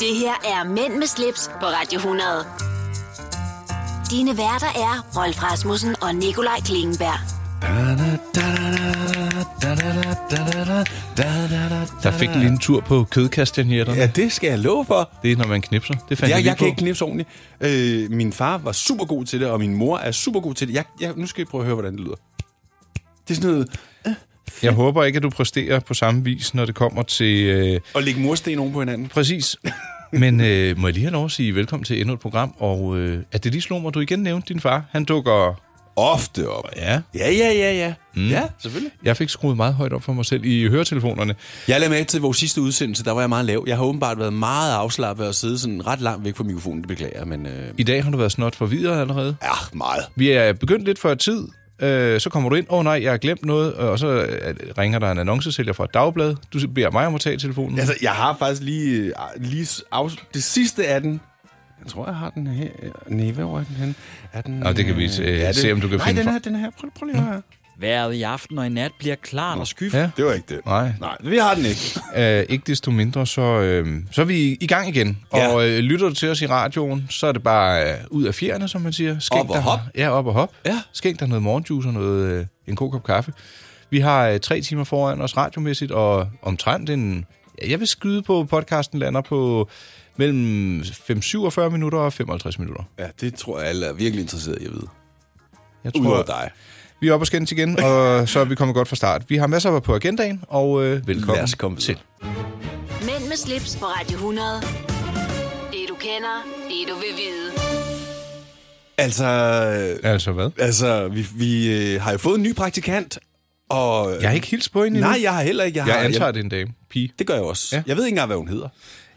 Det her er Mænd med slips på Radio 100. Dine værter er Rolf Rasmussen og Nikolaj Klingenberg. Der fik den lige en tur på kødkastanjetterne. Ja, det skal jeg love for. Det er, når man knipser. Det fandt jeg, Jeg, lige jeg på. kan ikke knipse ordentligt. Øh, min far var super god til det, og min mor er super god til det. Jeg, jeg, nu skal I prøve at høre, hvordan det lyder. Det er sådan noget... Jeg håber ikke, at du præsterer på samme vis, når det kommer til... Øh, At lægge mursten oven på hinanden. præcis. Men øh, må jeg lige have lov at sige velkommen til endnu et program, og øh, at det lige slog mig, at du igen nævnte din far. Han dukker... Ofte op. Ja. Ja, ja, ja, ja. Mm. Ja, selvfølgelig. Jeg fik skruet meget højt op for mig selv i høretelefonerne. Jeg lagde mærke til vores sidste udsendelse, der var jeg meget lav. Jeg har åbenbart været meget afslappet og siddet sådan ret langt væk fra mikrofonen, det beklager jeg, men... Øh, I dag har du været snot forvirret allerede. ja, meget. Vi er begyndt lidt før tid. Øh, så kommer du ind, åh oh, nej, jeg har glemt noget, og så øh, ringer der en annoncesælger fra et dagblad. Du beder mig om at tage telefonen. Altså, jeg har faktisk lige... øh, lige af, det sidste af den... Jeg tror, jeg har den her. Nej, hvor er den henne? Er den, Nå, det kan vi, øh, se, om du kan nej, finde den fra- her, den her. Prøv, prøv lige at høre. Vejret i aften og i nat bliver klart og skyfuldt. Ja. Det var ikke det. Nej. Nej, vi har den ikke. Øh, ikke desto mindre, så, øh, så er vi i gang igen. Ja. Og øh, lytter du til os i radioen, så er det bare øh, ud af fjerne, som man siger. Skænk Op og dig- hop. Ja, op og hop. Ja. Skænk dig noget morgenjuice og noget, øh, en god kop kaffe. Vi har øh, tre timer foran os radiomæssigt, og omtrent en... ja, Jeg vil skyde på, at podcasten lander på mellem 5-47 minutter og 55 minutter. Ja, det tror jeg, alle er virkelig interesseret i at vide. Jeg Udover dig. vi er oppe og skændes igen, og så er vi kommet godt fra start. Vi har masser på agendaen, og øh, velkommen Lad os komme til. videre. Mænd med slips på Radio 100. Det du kender, det du vil vide. Altså, Altså hvad? altså vi, vi øh, har jo fået en ny praktikant, og... Jeg har ikke hilst på hende endnu. Nej, jeg har heller ikke. Jeg, har, Jeg antager, det er en dame. Pige. Det gør jeg også. Ja. Ja. Jeg ved ikke engang, hvad hun hedder.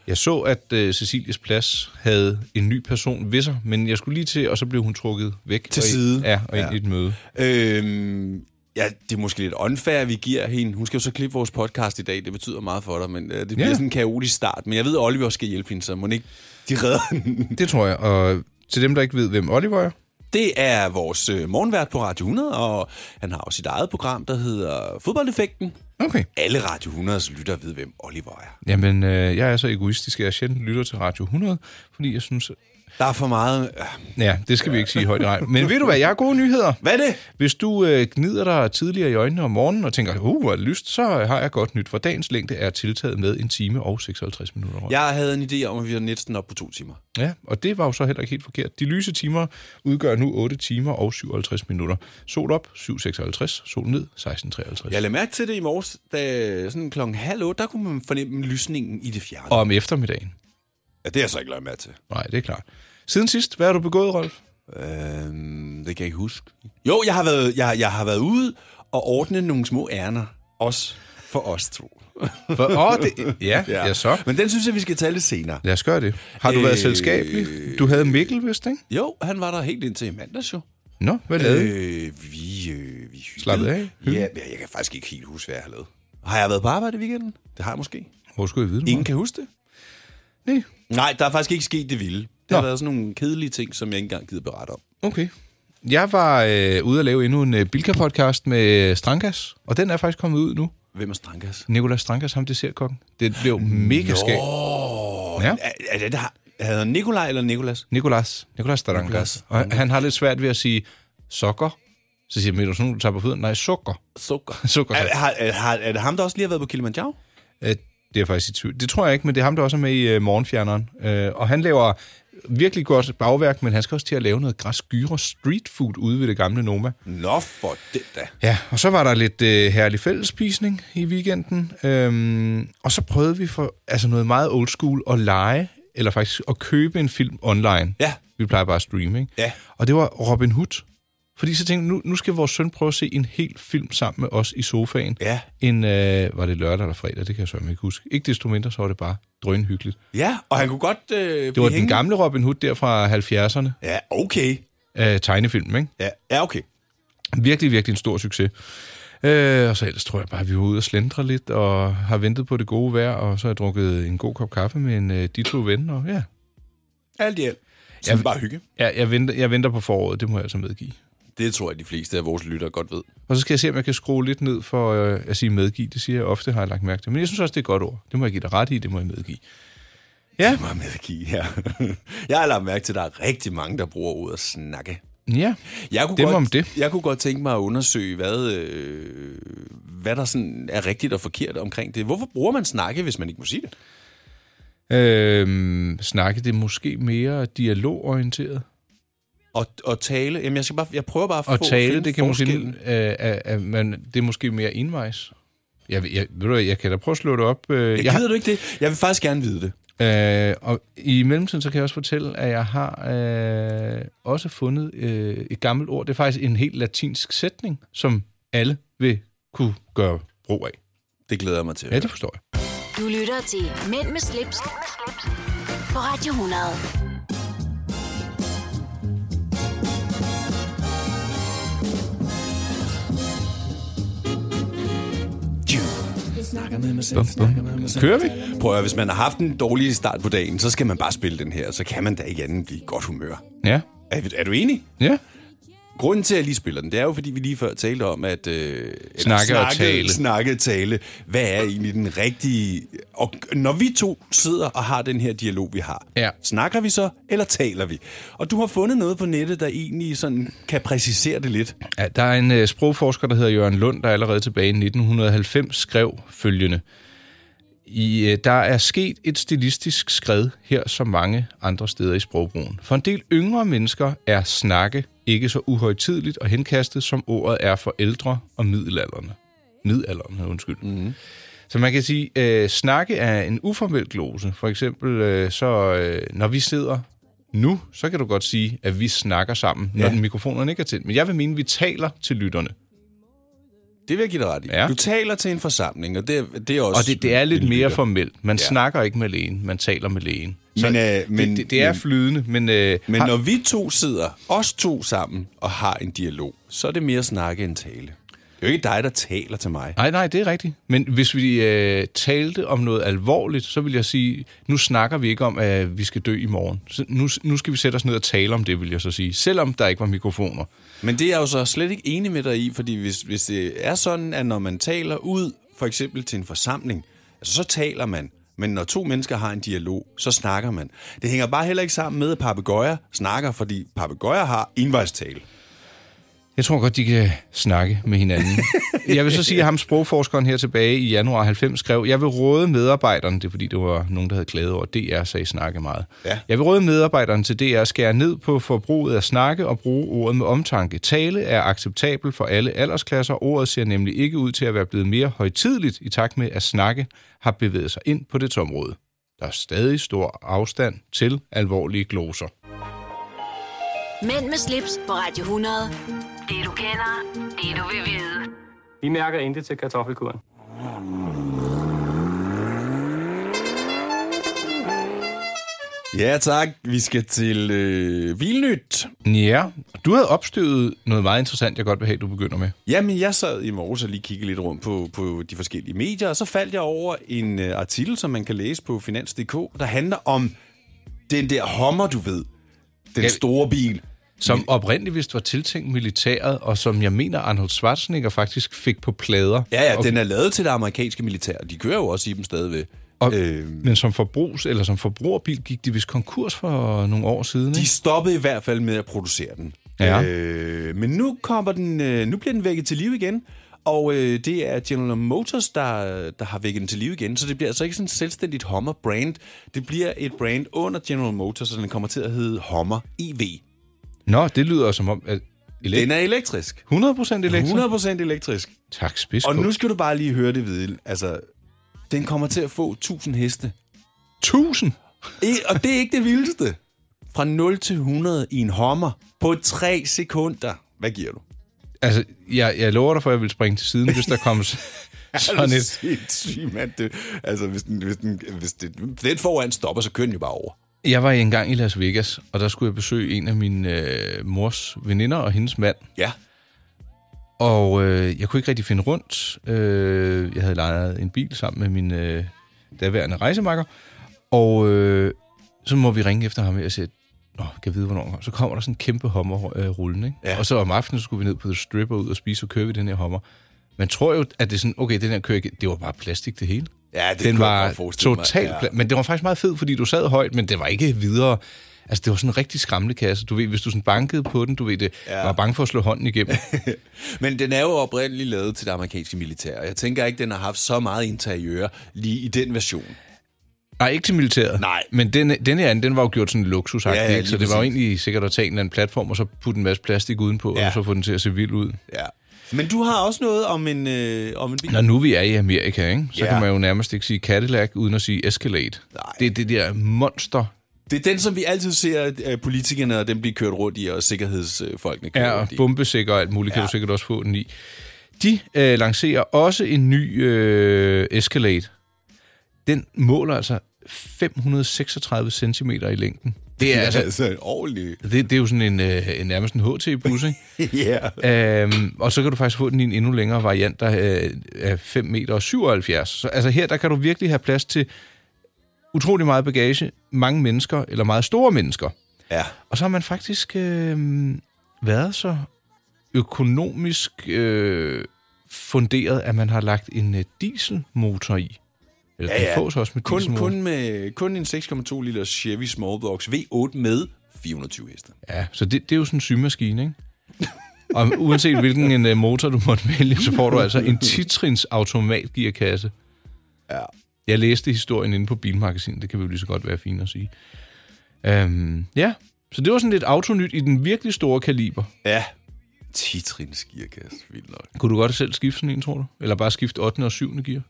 Jeg så, at øh, Cecilies Plads havde en ny person ved sig, men jeg skulle lige til, og så blev hun trukket væk. Til og ind- side. Ja, og ind Ja. i et møde. Øhm, ja, det er måske lidt unfair, at vi giver hende. Hun skal jo så klippe vores podcast i dag. Det betyder meget for dig, men øh, det bliver Ja. sådan en kaotisk start. Men jeg ved, at Oliver skal hjælpe hende, så må ikke... De redder hende. Det tror jeg. Og til dem, der ikke ved, hvem Oliver er. Det er vores øh, morgenvært på Radio 100, og han har jo sit eget program, der hedder Fodboldeffekten. Okay. Alle Radio 100's lyttere ved, hvem Oliver er. Jamen, øh, jeg er så egoistisk, at jeg sjældent lytter til Radio 100, fordi jeg synes... Der er for meget... Øh, Ja, det skal vi ikke sige højt i regn. Men ved du hvad, jeg har gode nyheder. Hvad er det? Hvis du øh, gnider dig tidligere i øjnene om morgenen og tænker, uh, hvor er det lyst, så har jeg godt nyt, for dagens længde er tiltaget med en time og 56 minutter. Jeg havde en idé om, at vi var næsten op på to timer. Ja, og det var jo så heller ikke helt forkert. De lyse timer udgør nu 8 timer og 57 minutter. Sol op, 7.56. Sol ned, 16.53. Jeg lagde mærke til det i morges, da sådan klokken halv otte, der kunne man fornemme lysningen i det fjerne. Og om eftermiddagen. Ja, det har jeg så ikke lagt mærke til. Nej, det er klart. Siden sidst, hvad har du begået, Rolf? Øhm, det kan jeg ikke huske. Jo, jeg har været, jeg, jeg har været ude og ordne nogle små ærner. Også for os to. For, åh, det, ja, ja. ja, så. Men den synes jeg, vi skal tale lidt senere. Lad os gøre det. Har du øh... været Øh. selskabelig? Du havde Mikkel, vist, ikke? Jo, han var der helt indtil i mandags jo. Nå, hvad lavede øh... Øh, vi, øh, vi Slappede af? Ja, men jeg kan faktisk ikke helt huske, hvad jeg har lavet. Har jeg været på arbejde i weekenden? Det har jeg måske. Hvor skulle jeg vide det? Ingen Ingen... kan huske det. Nej, Nej, der er faktisk ikke sket det vilde. Der har Nå. været sådan nogle kedelige ting, som jeg ikke engang gider berette om. okay. Jeg var øh, ude at lave endnu en øh, Bilka-podcast med øh, Strankas, og den er faktisk kommet ud nu. Hvem er Strankas? Nicolas Strankas, ham dessertkokken. Det blev mega skægt. Ja. Er, er det, der, hedder han Nikolaj eller Nikolas? Nikolas. Nikolas Starankas. Nicolas. Og han- han har lidt svært ved at sige sokker. Så siger jeg, "Men er du sådan, nogen, du tager på fødderne? Nej, sukker. Sukker. Sukker. Er, har, er, har, er det ham, der også lige har været på Kilimanjaro? Øh, Det er jeg faktisk i tvivl. Det tror jeg ikke, men det er ham, der også er med i øh, morgenfjerneren. Øh, Og han laver virkelig godt bagværk, men han skal også til at lave noget græs gyro street food ude ved det gamle Noma. Nå for det da. Ja, og så var der lidt øh, herlig fællesspisning i weekenden. Øhm, og så prøvede vi for altså noget meget old school at lege, eller faktisk at købe en film online. Ja. Vi plejer bare at streame, ikke? Ja. Og det var Robin Hood. Fordi så tænkte jeg, nu, nu skal vores søn prøve at se en hel film sammen med os i sofaen. Ja. En, øh, var det lørdag eller fredag? Det kan jeg så ikke huske. Ikke desto mindre, så var det bare drønhyggeligt. Ja, og han kunne godt øh, Det var den gamle Robin Hood der fra 70'erne. Ja, okay. Øh, tegnefilm, ikke? Ja, ja okay. Virkelig, virkelig en stor succes. Øh, og så ellers tror jeg bare, at vi var ude og slendre lidt, og har ventet på det gode vejr, og så har jeg drukket en god kop kaffe med en, øh, de to venner. Og ja, Alt i alt. Så Ja, ja, bare hygge. jeg, jeg, venter, jeg venter på foråret, det må jeg altså medgive. Det tror jeg, de fleste af vores lyttere godt ved. Og så skal jeg se, om jeg kan skrue lidt ned for øh, at sige medgive. Det siger jeg ofte, har jeg lagt mærke til. Men jeg synes også, det er et godt ord. Det må jeg give dig ret i, det må jeg medgive. Ja. Det må jeg medgive her. Jeg har lagt mærke til, at der er rigtig mange, der bruger ordet snakke. Ja. Jeg kunne, Dem godt, om det. jeg kunne godt tænke mig at undersøge, hvad, øh, hvad der sådan er rigtigt og forkert omkring det. Hvorfor bruger man snakke, hvis man ikke må sige det? Øhm, snakke det er måske mere dialogorienteret. Og, og tale, jamen jeg, skal bare, jeg prøver bare at Og få- tale, finde det kan måske, forskellen. øh, er, er, man, det er måske mere envejs. Jeg, jeg, ved du, hvad, jeg kan da prøve at slå det op. Øh, Jeg gider du ikke det? Jeg vil faktisk gerne vide det. Øh, og i mellemtiden, så kan jeg også fortælle, at jeg har øh, også fundet øh, et gammelt ord. Det er faktisk en helt latinsk sætning, som alle vil kunne gøre brug af. Det glæder jeg mig til. Ja, det forstår jeg. Du lytter til Mænd med slips, på Radio 100. Bum, bum. Kører vi? Prøv at høre, hvis man har haft en dårlig start på dagen, så skal man bare spille den her, så kan man da ikke andet end blive i godt humør. Ja. Er, er du enig? Ja. Grunden til, at jeg lige spiller den, det er jo, fordi vi lige før talte om, at... Øh, eller Snakke og tale. Snakke og tale. Hvad er egentlig den rigtige... Og når vi to sidder og har den her dialog, vi har, Ja. snakker vi så, eller taler vi? Og du har fundet noget på nettet, der egentlig sådan kan præcisere det lidt. Ja, der er en øh, sprogforsker, der hedder Jørgen Lund, der allerede tilbage i 1990 skrev følgende. I, øh, der er sket et stilistisk skred her som mange andre steder i sprogbrugen. For en del yngre mennesker er snakke ikke så uhøjtidligt og henkastet, som ordet er for ældre og middelalderne. Middelalderne, undskyld. Mm-hmm. Så man kan sige, øh, snakke er en uformel glose. For eksempel, øh, så øh, når vi sidder nu, så kan du godt sige, at vi snakker sammen, ja. når Ja. den mikrofonerne ikke er tændt. Men jeg vil mene, at vi taler til lytterne. Det vil jeg give dig ret i. Ja. Du taler til en forsamling, og det, er- det er også... Og det, det er lidt en mere lytter. formelt. Man ja. Ja. snakker ikke med lægen, man taler med lægen. Men, øh, det, men- det, det er men- flydende, men... Øh, Men har- når vi to sidder, os to sammen, og har en dialog, så er det mere snakke end tale. Det er jo ikke dig, der taler til mig. Nej, nej, det er rigtigt. Men hvis vi øh, talte om noget alvorligt, så vil jeg sige, nu snakker vi ikke om, at vi skal dø i morgen. Så nu, nu skal vi sætte os ned og tale om det, vil jeg så sige. Selvom der ikke var mikrofoner. Men det er jeg jo så slet ikke enig med dig i, fordi hvis, hvis det er sådan, at når man taler ud, for eksempel til en forsamling, altså så taler man, men når to mennesker har en dialog, så snakker man. Det hænger bare heller ikke sammen med, at papegøjer snakker, fordi papegøjer har envejstale. Jeg tror godt, de kan snakke med hinanden. jeg vil så sige, at ham sprogforskeren her tilbage i januar 90 skrev, jeg vil råde medarbejderne, det er fordi, det var nogen, der havde klaget over, at DR sagde snakke meget. Ja. Jeg vil råde medarbejderne til DR at skære ned på forbruget af snakke og bruge ordet med omtanke. Tale er acceptabel for alle aldersklasser. Ordet ser nemlig ikke ud til at være blevet mere højtidligt i takt med, at snakke har bevæget sig ind på det område. Der er stadig stor afstand til alvorlige gloser. Mænd med slips på Radio 100. Det du kender, det du vil vide. Vi mærker intet til kartoffelkuren. Ja tak, vi skal til øh, Vilnyt. Ja, du havde opstøvet noget meget interessant, jeg godt vil have, du begynder med. Jamen, jeg sad i morges og lige kiggede lidt rundt på, på de forskellige medier, og så faldt jeg over en øh, artikel, som man kan læse på finans.dk, der handler om den der Hummer, du ved. Den Ja. store bil. Som oprindeligt vist var tiltænkt militæret, og som jeg mener, Arnold Schwarzenegger faktisk fik på plader. Ja, ja, og, okay. den er lavet til det amerikanske militær, og de kører jo også i dem stadigvæk. og, øh... øh, Men som forbrugs- eller som forbrugerbil gik de vist konkurs for nogle år siden, De ikke? stoppede i hvert fald med at producere den. Ja. Øh, men nu kommer den, øh, nu bliver den vækket til live igen. Og øh, det er General Motors, der, der har vækket den til live igen. Så det bliver altså ikke sådan et selvstændigt Hummer-brand. Det bliver et brand under General Motors, så den kommer til at hedde Hummer EV. Nå, det lyder som om... At elekt- Den er elektrisk. 100% elektrisk? 100% elektrisk. Tak, spids Og nu skal du bare lige høre det vide. Altså, den kommer til at få 1000 heste. 1000! I- Og det er ikke det vildeste. Fra 0 til 100 i en Hummer på 3 sekunder. Hvad giver du? Altså, jeg, jeg lover dig for, at jeg vil springe til siden, hvis der kom s- sådan et... sindssygt, mand. Det, altså, hvis den, hvis den, hvis det, den foran stopper, så kører den jo bare over. Jeg var engang i Las Vegas, og der skulle jeg besøge en af min øh, mors veninder og hendes mand. Ja. Og øh, jeg kunne ikke rigtig finde rundt. Øh, jeg havde lejet en bil sammen med min øh, daværende rejsemakker. Og øh, så må vi ringe efter ham her og sige, Nå, kan jeg vide, hvornår han kommer. Så kommer der sådan en kæmpe hommer øh, rullende. Ikke? Ja. Ja. Og så om aftenen så skulle vi ned på The Strip og ud og spise, og kører vi den her hommer. Man tror jo, at det er sådan, okay, den her kører ikke. Det var bare plastik, det hele. Ja, det den kunne jeg var godt forestille mig, totalt ja. pla- Men det var faktisk meget fed, fordi du sad højt, men det var ikke videre... Altså, det var sådan en rigtig skramlekasse. Du ved, hvis du sådan bankede på den, du ved det, ja. var bange for at slå hånden igennem. Men den er jo oprindeligt lavet til det amerikanske militær, og jeg tænker ikke, den har haft så meget interiør lige i den version. Nej, ikke til militæret. Nej. Men den, den her anden, den var jo gjort sådan luksusagtig, Ja, ja, ja, ja, lige så det var jo præcis. egentlig sikkert at tage en eller anden platform, og så putte en masse plastik udenpå, ja. Ja. og så få den til at se vild ud. Ja. Men du har også noget om en, øh, om en bil. Når nu vi er i Amerika, ikke? så Ja. ja. kan man jo nærmest ikke sige Cadillac, uden at sige Escalade. Nej. Det er det der monster. Det er den, som vi altid ser øh, politikerne og dem blive kørt rundt i, og sikkerhedsfolkene kører Ja, og rundt i. bombesikker og alt muligt, kan Ja. du sikkert også få den i. De øh, lancerer også en ny øh, Escalade. Den måler altså 536 cm i længden. Det er, altså, altså ordentligt. det, det er jo sådan en, øh, en nærmest en HT-bus, ikke? ja. Øhm, og så kan du faktisk få den i en endnu længere variant, der øh, er 5 meter og 77. Så altså her, der kan du virkelig have plads til utrolig meget bagage, mange mennesker, eller meget store mennesker. Ja. Og så har man faktisk øh, været så økonomisk øh, funderet, at man har lagt en øh, dieselmotor i. Eller ja, Ja, ja. ja. den fås også med Kun, dieselmotor. kun, med, kun en 6,2 liter Chevy Smallbox V8 med 420 heste. Ja, så det, det er jo sådan en symaskine, ikke? Og uanset hvilken en, øh, motor du måtte vælge, så får du altså en titrins automatgearkasse. Ja. Jeg læste historien inde på Bilmagasinet, det kan vi jo lige så godt være fint at sige. Øhm, ja, så det var sådan lidt autonyt i den virkelig store kaliber. Ja. Titrins gearkasse, vildt nok. Kunne du godt selv skifte sådan en, tror du? Eller bare skifte 8. og 7. gear?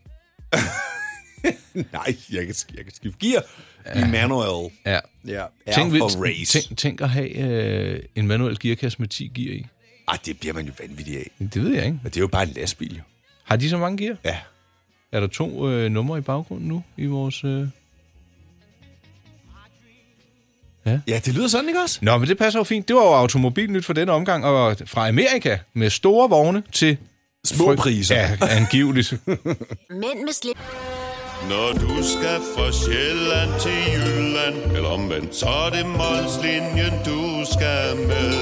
Nej, jeg kan, jeg kan skifte gear. Ja. I manual. Ja. Ja. R Tænk, for hvis- race. Tænk, tænk at have øh, en manuel gearkasse med 10 gear i. Ej, det bliver man jo vanvittig af. Det ved jeg ikke. Men det er jo bare en lastbil, jo. Har de så mange gear? Ja. Er der to øh, numre i baggrunden nu i vores... Øh... Ja, det lyder sådan, ikke også? Nå, men det passer jo fint. Det var jo automobilnyt for denne omgang, og fra Amerika med store vogne til... Små frygt- priser. Ja, angiveligt. Mænd med slips. Når du skal fra Sjælland til Jylland Eller omvendt Så er det Molslinjen du skal med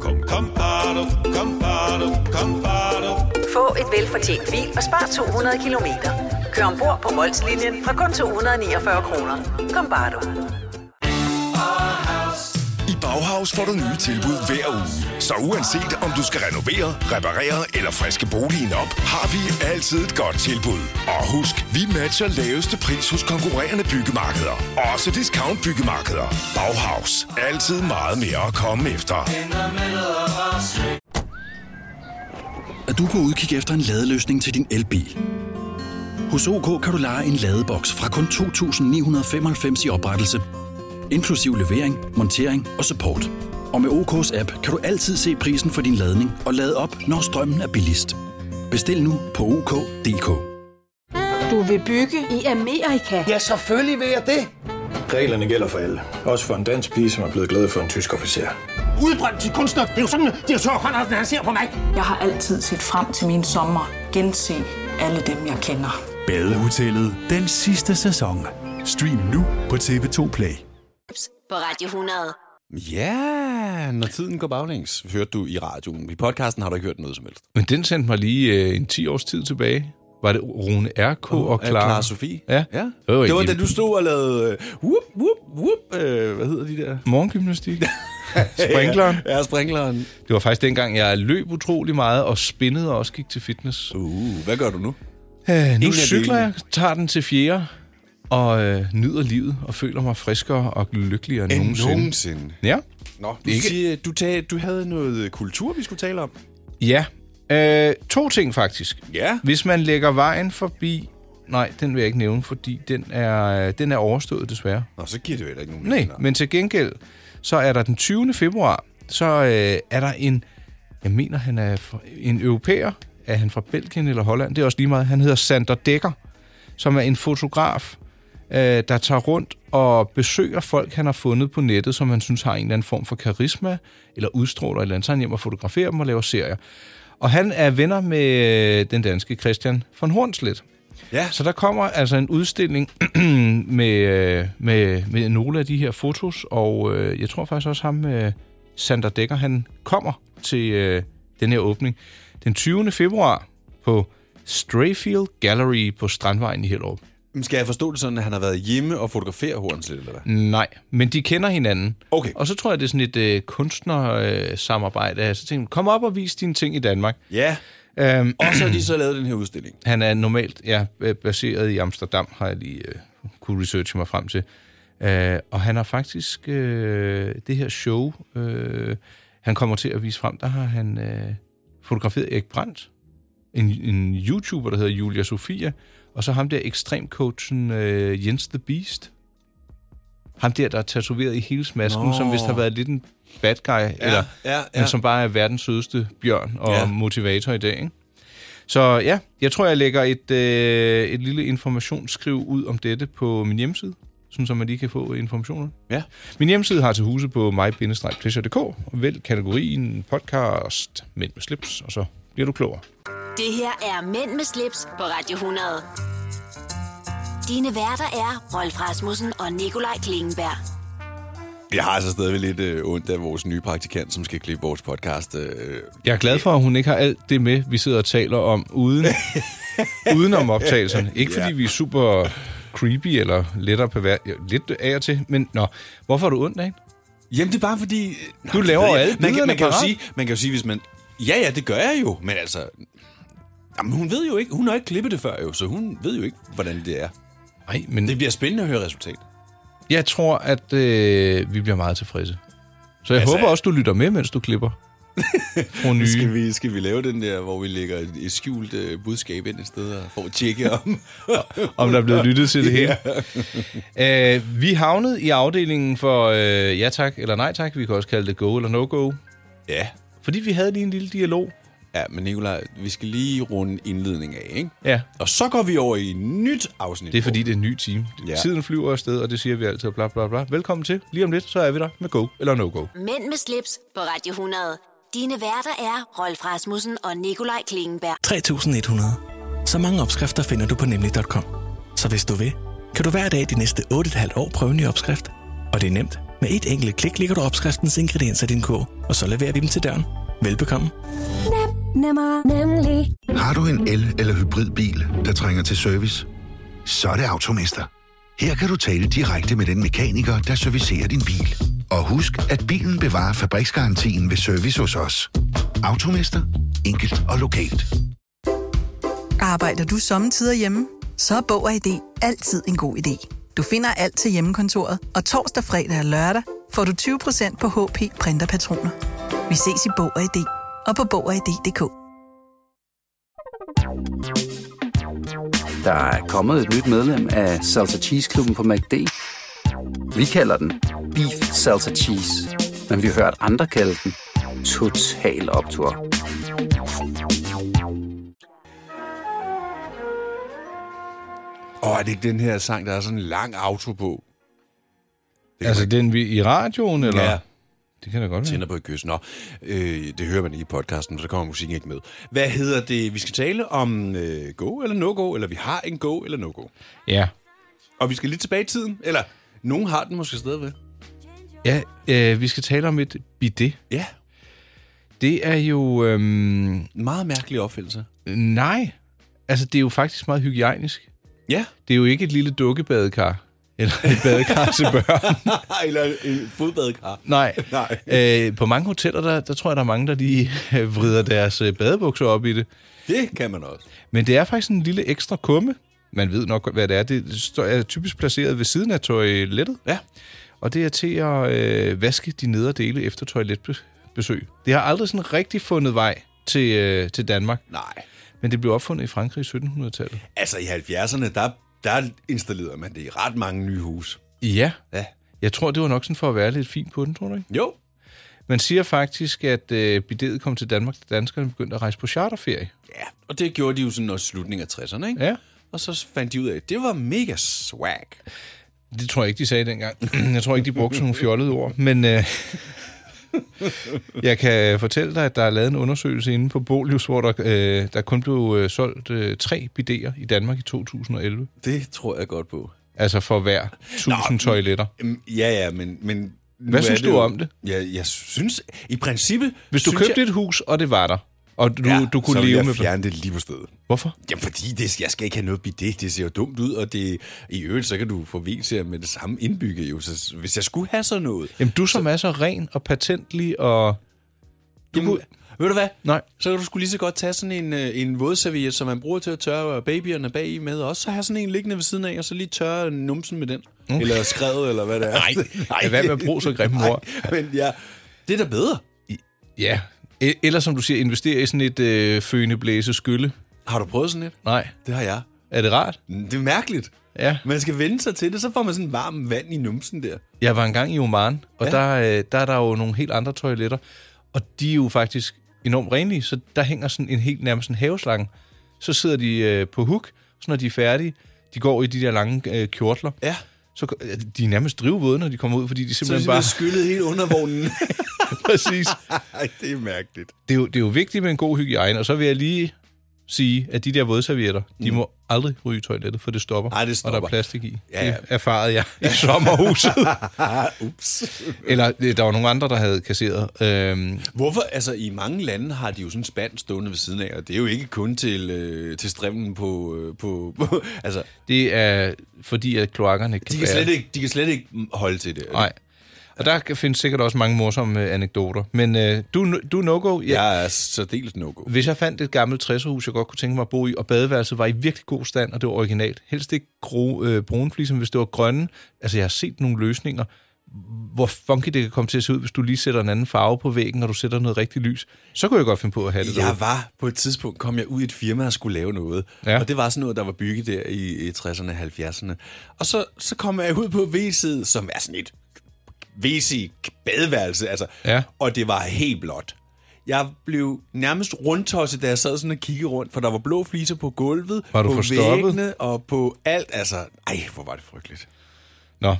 Kom, kom, kom, bado, kom, bado, kom, bado. Få et velfortjent bil og spar 200 kilometer. Kør ombord på Molslinjen fra kun 249 kroner. Kom bare du. I Bauhaus får du nye tilbud hver uge. Så uanset om du skal renovere, reparere eller friske boligen op, har vi altid et godt tilbud. Og husk, vi matcher laveste pris hos konkurrerende byggemarkeder. Også discount byggemarkeder. Bauhaus. Altid meget mere at komme efter. er du på udkig efter en ladeløsning til din elbil. Hos OK kan du lege en ladeboks fra kun 2.995 i oprettelse, inklusiv levering, montering og support. Og med OK's app kan du altid se prisen for din ladning og lade op, når strømmen er billigst. Bestil nu på OK.dk. Du vil bygge i Amerika? Ja, selvfølgelig vil jeg det. Reglerne gælder for alle. Også for en dansk pige, som er blevet glad for en tysk officer. udbrændt til kunstner. Det er jo sådan, at de har tørt, han ser på mig. Jeg har altid set frem til min sommer. Gense alle dem, jeg kender. Badehotellet den sidste sæson. Stream nu på TV2 Play. På Radio 100. Ja, når tiden går baglæns, hørte du i radioen. I podcasten har du ikke hørt noget som helst. men den sendte mig lige øh, en 10 års tid tilbage. Var det Rune R.K. og Af Clara? Clara Sofie. Ja. ja. Det var, Det var da den du du... stod og lavede... øh, Whoop, whoop, whoop. Øh, hvad hedder de der? Morgengymnastik. Sprinkleren. Ja, sprinkleren. Det var faktisk dengang, jeg løb utrolig meget og spinnede og også gik til fitness. Uh, hvad gør du nu? Øh, nu af cykler delene. jeg, tager den til fjerde og øh, nyder livet og føler mig friskere og lykkeligere end, end nogensinde. nogensinde. Ja. Nå, du, Ikke- ikke. Siger, du, tag, du havde noget øh, kultur, vi skulle tale om. Ja. Øh, to ting faktisk. Ja. Hvis man lægger vejen forbi... Nej, den vil jeg ikke nævne, fordi den er, den er overstået desværre. Nå, så giver det jo heller ikke nogen Nej, mening. men til gengæld, så er der den 20. februar, så øh, er der en... Jeg mener, han er fra, en europæer. Er han fra Belgien eller Holland? Det er også lige meget. Han hedder Sander Dekker, som er en fotograf, øh, der tager rundt og besøger folk, han har fundet på nettet, som han synes har en eller anden form for karisma, eller udstråler et eller andet. Så er han hjem og fotograferer dem og laver serier. Og han er venner med øh, den danske Christian von Hornslet. Ja. Så der kommer altså en udstilling med, øh, med, med nogle af de her fotos, og øh, jeg tror faktisk også ham, øh, Sander Dækker, han kommer til øh, den her åbning den 20. februar på Strayfield Gallery på Strandvejen i Hellerup. Skal jeg forstå det sådan, at han har været hjemme og fotograferet Hornslet, eller hvad? Nej, men de kender hinanden. Okay. Og så tror jeg, det er sådan et øh, kunstnersamarbejde. Øh, så tænkte jeg, kom op og vis dine ting i Danmark. Ja. Øhm, og så har de så lavet den her udstilling. Han er normalt ja, øh, baseret i Amsterdam, har jeg lige øh, kunne researche mig frem til. Øh, og han har faktisk øh, det her show, øh, han kommer til at vise frem, der har han øh, fotograferet Erik Brandt, en, en YouTuber, der hedder Julia Sofia, og så ham der ekstremcoachen øh, Jens The Beast. Ham der, der er tatoveret i hele masken, Nå. som vist har været lidt en bad guy, ja, eller, ja, ja. men som bare er verdens sødeste bjørn og Ja. ja. motivator i dag. Ikke? Så ja, jeg tror, jeg lægger et, øh, et lille informationsskriv ud om dette på min hjemmeside, sådan så man lige kan få informationer. Ja. Min hjemmeside har til huse på mig-pleasure.dk, og vælg kategorien podcast Mænd med slips, og så bliver du klogere. Det her er Mænd med slips på Radio 100. Dine værter er Rolf Rasmussen og Nikolaj Klingenberg. Jeg har altså stadigvæk lidt øh, ondt af vores nye praktikant, som skal klippe vores podcast. Øh. Jeg er glad for, at hun ikke har alt det med, vi sidder og taler om, uden, uden om optagelserne. Ikke fordi Ja. vi er super creepy eller lettere på vær- jo, lidt af og til, men nå, hvorfor har du ondt af hende? Jamen, det er bare fordi... øh, nej, Du det laver ved jeg alle ikke. man kan, man billederne kan jo parat. sige, man kan jo sige, hvis man... Ja, ja, det gør jeg jo, men altså... Jamen, hun ved jo ikke, hun har ikke klippet det før jo, så hun ved jo ikke, hvordan det er. Nej, men... Det bliver spændende at høre resultatet. Jeg tror, at øh, vi bliver meget tilfredse. Så jeg Altså- altså, håber også, du lytter med, mens du klipper. Fru Nye. Skal vi, skal vi lave den der, hvor vi lægger et, et skjult øh, budskab ind et sted og får tjekke om... om der er blevet lyttet til det hele. Øh, vi havnede i afdelingen for øh, ja tak eller nej tak. Vi kan også kalde det go eller no go. Ja. Fordi vi havde lige en lille dialog. Ja, men Nicolaj, vi skal lige runde indledningen af, ikke? Ja. Og så går vi over i et nyt afsnit. Det er fordi, det er en ny time. Ja. Ja. Tiden flyver afsted, og det siger vi altid. Bla, bla, bla. Velkommen til. Lige om lidt, så er vi der med go eller no go. Mænd med slips på Radio 100. Dine værter er Rolf Rasmussen og Nikolaj Klingenberg. 3100. Så mange opskrifter finder du på nemlig.com. Så hvis du vil, kan du hver dag de næste 8,5 år prøve en ny opskrift. Og det er nemt. Med et enkelt klik ligger du opskriftens ingredienser i din kog, og så leverer vi dem til døren. Velbekomme. Nemmer, nemlig. Har du en el- eller hybridbil, der trænger til service? Så er det Automester. Her kan du tale direkte med den mekaniker, der servicerer din bil. Og husk, at bilen bevarer fabriksgarantien ved service hos os. Automester. Enkelt og lokalt. Arbejder du sommetider hjemme? Så er Bog og ID altid en god idé. Du finder alt til hjemmekontoret, og torsdag, fredag og lørdag får du 20% på HP printerpatroner. Vi ses i Bog og ID og på Bog og ID.dk. Der er kommet et nyt medlem af Salsa Cheese Klubben på MACD. Vi kalder den Beef Salsa Cheese, men vi har hørt andre kalde den Total Optor. Åh, oh, er det ikke den her sang, der er sådan en lang auto på? Det altså den vi i radioen, eller? Ja. Det kan da godt være. Tænder på et kys. Nå, øh, det hører man ikke i podcasten, for der kommer musikken ikke med. Hvad hedder det? Vi skal tale om øh, go eller no-go, eller vi har en go eller no-go. Ja. Og vi skal lidt tilbage i tiden, eller nogen har den måske stadigvæk. Ja, øh, vi skal tale om et bidet. Ja. Det er jo... Øhm, meget mærkelig opfældelse. Nej. Altså, det er jo faktisk meget hygiejnisk. Ja. Det er jo ikke et lille dukkebadekar. Eller et badekar til børn. eller en fodbadekar. Nej. Nej. Øh, på mange hoteller, der, der tror jeg, der er mange, der lige øh, vrider deres øh, badebukser op i det. Det kan man også. Men det er faktisk en lille ekstra kumme. Man ved nok, hvad det er. Det står- er typisk placeret ved siden af toilettet. Ja. Og det er til at øh, vaske de nederdele efter toiletbesøg. Det har aldrig sådan rigtig fundet vej til, øh, til Danmark. Nej. Men det blev opfundet i Frankrig i 1700-tallet. Altså i 70'erne, der, der installerede man det i ret mange nye hus. Ja. ja. Jeg tror, det var nok sådan for at være lidt fint på den, tror du ikke? Jo. Man siger faktisk, at øh, bidet kom til Danmark, da danskerne begyndte at rejse på charterferie. Ja, og det gjorde de jo sådan også i slutningen af 60'erne, ikke? Ja. Og så fandt de ud af, at det var mega swag. Det tror jeg ikke, de sagde dengang. Jeg tror ikke, de brugte sådan nogle fjollede ord. Men øh, jeg kan fortælle dig, at der er lavet en undersøgelse inde på Bolius, hvor der, øh, der kun blev øh, solgt øh, tre bidéer i Danmark i 2011. Det tror jeg godt på. Altså for hver 1000 toiletter. Mm, Ja, ja, men... men nu Hvad er synes det du jo- om det? Ja, jeg synes... I princippet... Hvis du synes købte jeg, et hus, og det var der, Og du, ja, du kunne så vil leve jeg med fjerne det lige på stedet. Hvorfor? Jamen, fordi det, jeg skal ikke have noget bidet. Det ser jo dumt ud, og det, i øvrigt, så kan du få VC'er med det samme indbygget. Jo. Så, hvis jeg skulle have sådan noget... Jamen, du som er så ren og patentlig og... Du Jamen, kunne... Ved du hvad? Nej. Så kan du skulle lige så godt tage sådan en, øh, en vådserviet, som man bruger til at tørre babyerne bag i med, og også så have sådan en liggende ved siden af, og så lige tørre numsen med den. Mm. Mm. Eller skrevet, eller hvad det er. Nej, lad være med at bruge så grimme Nej, ord. Men ja, det er da bedre. Ja. E- Eller som du siger, investere i sådan et øh, føneblæse skylle. Har du prøvet sådan et? Nej. Det har jeg. Er det rart? Det er mærkeligt. Ja. Man skal vende sig til det, så får man sådan varm vand i numsen der. Jeg var engang i Oman, og ja. Ja. der, øh, der er der jo nogle helt andre toiletter, og de er jo faktisk enormt renlige, så der hænger sådan en helt nærmest en haveslange. Så sidder de øh, på hook, så når de er færdige, de går i de der lange øh, kjortler. Ja. Så, ko- øh, de er nærmest drivvåde, når de kommer ud, fordi de Så er simpelthen, det simpelthen bare... skyllet helt under vognen. Præcis. Ej, det er mærkeligt. Det er, jo, det er jo vigtigt med en god hygiejne, og så vil jeg lige sige, at de der vådservietter, mm. de må aldrig ryge i toilettet, for det stopper. Ej, det Og der stopper. er plastik i. Ja, Det ja. erfarede jeg i sommerhuset. Ups. Eller øh, der var nogle andre, der havde kasseret. Øhm, Hvorfor? Altså, i mange lande har de jo sådan en spand stående ved siden af, og det er jo ikke kun til, øh, til strømmen på, øh, på, på... Altså, det er fordi, at kloakkerne ikke kan de kan, bære slet ikke, de kan slet ikke holde til det. Nej. Og der kan- findes sikkert også mange morsomme øh, anekdoter. Men øh, du, er no- du er no-go. Ja. Jeg er særdeles no-go. Hvis jeg fandt et gammelt 60'erhus, jeg godt kunne tænke mig at bo i, og badeværelset var i virkelig god stand, og det var originalt. Helst ikke gro, øh, brune fliser, men hvis det var grønne. Altså, jeg har set nogle løsninger, hvor funky det kan komme til at se ud, hvis du lige sætter en anden farve på væggen, og du sætter noget rigtig lys. Så kunne jeg godt finde på at have det Jeg derude. var på et tidspunkt, kom jeg ud i et firma og skulle lave noget. Ja. Ja. Og det var sådan noget, der var bygget der i, i 60'erne og 70'erne. Og så, så kom jeg ud på WC'et, som er sådan et WC-badeværelse. Altså. Ja. Og det var helt blåt. Jeg blev nærmest rundtosset, da jeg sad sådan og kiggede rundt, for der var blå fliser på gulvet, Var du på forstoppet? væggene og på alt. Altså, ej, hvor var det frygteligt. Nå.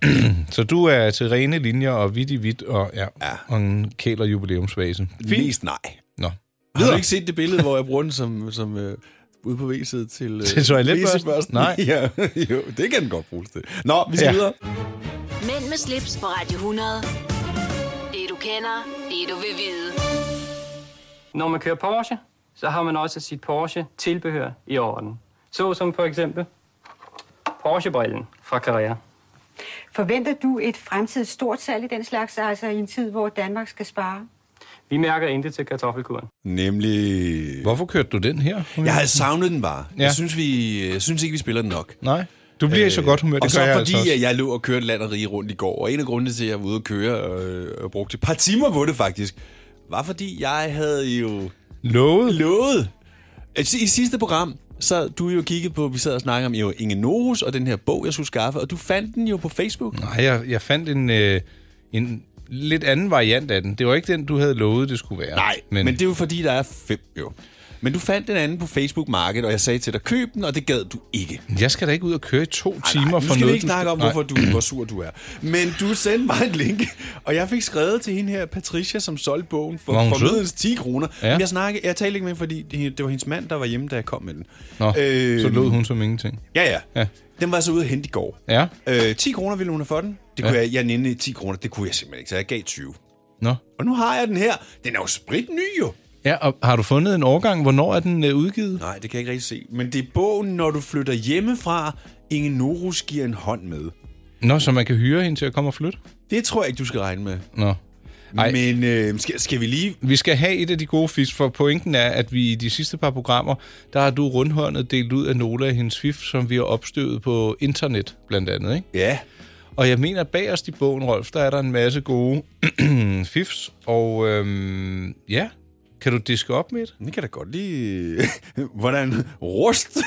så du er til rene linjer og vidt i vidt, og, ja, ja. og en kæler jubilæumsvase. Fint. Mest nej. Nå. Har du ikke set det billede, hvor jeg bruger den som, som øh, ude på WC'et til, øh, Til toiletbørsten? WC-børsten? Nej. ja, jo, det kan den godt bruges til. Nå, vi skal Ja. ja. videre. Mænd med slips på Radio 100. Det du kender, det du vil vide. Når man kører Porsche, så har man også sit Porsche-tilbehør i orden. Så som for eksempel Porsche-brillen fra Carrera. Forventer du et fremtidigt stort salg i den slags, altså i en tid, hvor Danmark skal spare? Vi mærker intet til kartoffelkuren. Nemlig... Hvorfor kørte du den her? Jeg havde savnet den bare. Ja. Jeg synes, vi, jeg synes ikke, vi spiller den nok. Nej. Du bliver i så godt humør, det Øh, og så gør jeg fordi, altså også. at jeg lå og kørte land og rige rundt i går, og en af grundene til, at jeg var ude og køre øh, og brugte et par timer på det faktisk, var fordi, jeg havde jo... Lovet? Lovet! Altså, I sidste program, så du jo kigget på, vi sad og snakkede om jo Inge Norus og den her bog, jeg skulle skaffe, og du fandt den jo på Facebook. Nej, jeg, jeg fandt en, øh, en lidt anden variant af den. Det var ikke den, du havde lovet, det skulle være. Nej, men, men det er jo fordi, der er fem jo. Men du fandt den anden på Facebook Market, og jeg sagde til dig, køb den, og det gad du ikke. Jeg skal da ikke ud og køre i to timer nu for skal vi noget, ikke du snakke skal- om, Nej. hvorfor du, hvor sur du er. Men du sendte mig et link, og jeg fik skrevet til hende her, Patricia, som solgte bogen for, Var hun sød? for middels 10 kroner. Ja. Ja. Men jeg, snakkede, jeg talte ikke med hende, fordi det det var hendes mand, der var hjemme, da jeg kom med den. Nå, øh, Øh, så lød hun som ingenting. Ja, ja. Ja. Den var så ude at hente i går. Ja. Øh, 10 kroner ville hun have for den. Det Ja. kunne ja. jeg, jeg nænde 10 kroner, det kunne jeg simpelthen ikke, så jeg gav 20. Nå. Og nu har jeg den her. Den er jo spritny jo. Ja, og har du fundet en årgang? Hvornår er den øh, udgivet? Nej, det kan jeg ikke rigtig se. Men det er bogen, når du flytter hjemmefra, Inge Norus giver en hånd med. Nå, så man kan hyre hende til at komme og flytte? Det tror jeg ikke, du skal regne med. Nå. Ej. Men øh, skal, skal vi lige... Vi skal have et af de gode fisk, for pointen er, at vi i de sidste par programmer, der har du rundhåndet delt ud af nogle af hendes fif, som vi har opstøvet på internet, blandt andet, ikke? Ja. Og jeg mener, at bagerst i bogen, Rolf, der er der en masse gode fifs. Og øhm, ja, kan du diske op med et? Det kan da godt lige... Hvordan rust...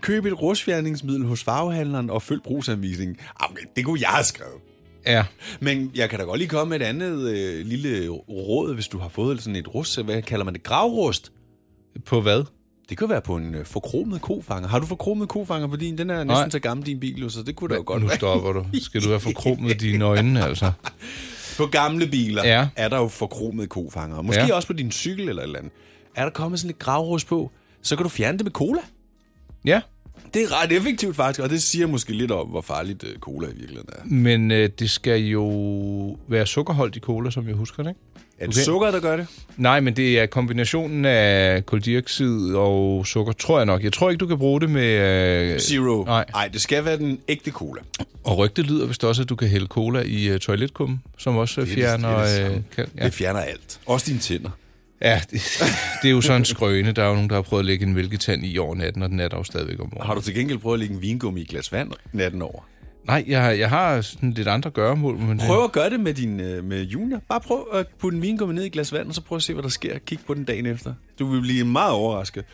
Køb et rustfjerningsmiddel hos farvehandleren og følg brugsanvisningen. Ah, men Det kunne jeg have skrevet. Ja. Men jeg kan da godt lige komme med et andet øh, lille råd, hvis du har fået sådan et rust. Hvad kalder man det? Gravrust? På hvad? Det kunne være på en øh, forkromet kofanger. Har du forkromet kofanger på din? Den er næsten Nej. så gammel, din bil, jo, så det kunne da jo godt Nu være. stopper du. Skal du have forkrummet dine øjne, altså? På gamle biler Ja. ja. er der jo forkromede kofanger. Måske Ja. ja. også på din cykel eller et eller andet. Er der kommet sådan lidt gravrus på, så kan du fjerne det med cola. Ja, Det er ret effektivt faktisk, og det siger måske lidt om, hvor farligt øh, cola i virkeligheden er. Men øh, det skal jo være sukkerholdt i cola, som jeg husker det, ikke? Er det sukker, der gør det? Nej, men det er kombinationen af koldioxid og sukker, tror jeg nok. Jeg tror ikke, du kan bruge det med... Øh, Zero. Nej. Nej, det skal være den ægte cola. og rygte lyder vist også, at du kan hælde cola i øh, toiletkummen, som også det- fjerner... det er det samme. øh, kan- Det fjerner alt. Også dine tænder. Ja, det, det er jo sådan en skrøne. Der er jo nogen, der har prøvet at lægge en mælketand i over natten, og den er der jo stadigvæk om morgenen. Har du til gengæld prøvet at lægge en vingummi i et glas vand natten over? Nej, jeg, har- jeg har sådan lidt andre gøremål. Men øh, det- Prøv at gøre det med, din, øh, med junior. Bare prøv at putte en vingummi ned i et glas vand, og så prøv at se, hvad der sker. Kig på den dagen efter. Du vil blive meget overrasket.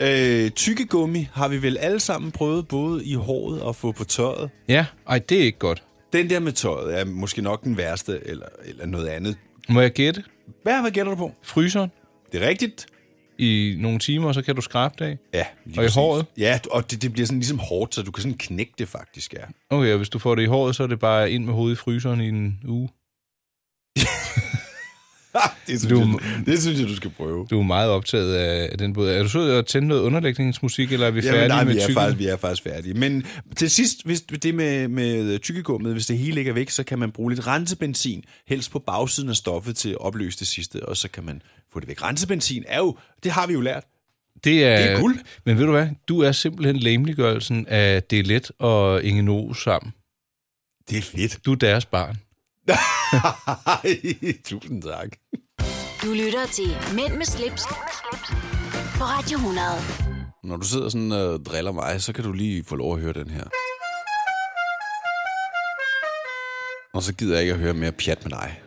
Øh, tykkegummi har vi vel alle sammen prøvet, både i håret og få på tøjet. Ja, ej, det er ikke godt. Den der med tøjet er måske nok den værste, eller, eller noget andet. Må jeg gætte? Hvad, hvad gætter du på? Fryseren. Det er rigtigt. I nogle timer, så kan du skrabe det af. Ja, Og i håret? Ja, og det, det bliver sådan ligesom hårdt, så du kan sådan knække det faktisk, ja. Okay, og hvis du får det i håret, så er det bare ind med hovedet i fryseren i en uge. Det synes, Du- jeg, det synes jeg, du skal prøve. Du er meget optaget af af den båd. Er du sød at tænde noget underlægningsmusik, eller er vi færdige Jamen, nej, med vi er, tykken? faktisk, vi er faktisk færdige. Men til sidst, hvis det med, med tykkegummet, hvis det hele ikke er væk, så kan man bruge lidt rensebenzin, helst på bagsiden af stoffet til at opløse det sidste, og så kan man få det væk. Rensebenzin er jo, det har vi jo lært. Det er, Det er guld. Men ved du hvad? Du er simpelthen lemliggørelsen af Det er let og Inge No sammen. Det er fedt. Du er deres barn. Ej, Tusind tak. Du lytter til Mænd med slips, på Radio 100. Når du sidder sådan og øh, driller mig, så kan du lige få lov at høre den her. Og så gider jeg ikke at høre mere pjat med dig.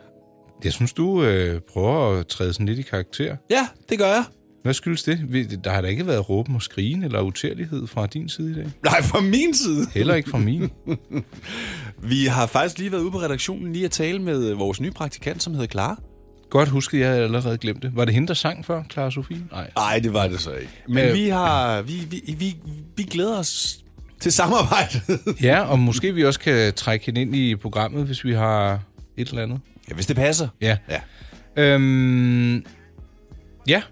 Jeg synes, du øh, prøver at træde sådan lidt i karakter. Ja, det gør jeg. Hvad skyldes det? Vi- Der har da ikke været råben og skrigen eller utærlighed fra din side i dag. Nej, fra min side. Heller ikke fra min. Vi har faktisk lige været ude på redaktionen lige at tale med øh, vores nye praktikant, som hedder Clara. Godt husket, jeg havde allerede glemt det. Var det hende, der sang før, Clara Sofie? Nej. Nej, det var det så ikke. Men Øh, øh, vi har vi, vi, vi, vi glæder os til samarbejdet. Ja, og måske vi også kan trække hende ind i programmet, hvis vi har et eller andet. ja, hvis det passer. Ja. ja. Øhm, ja.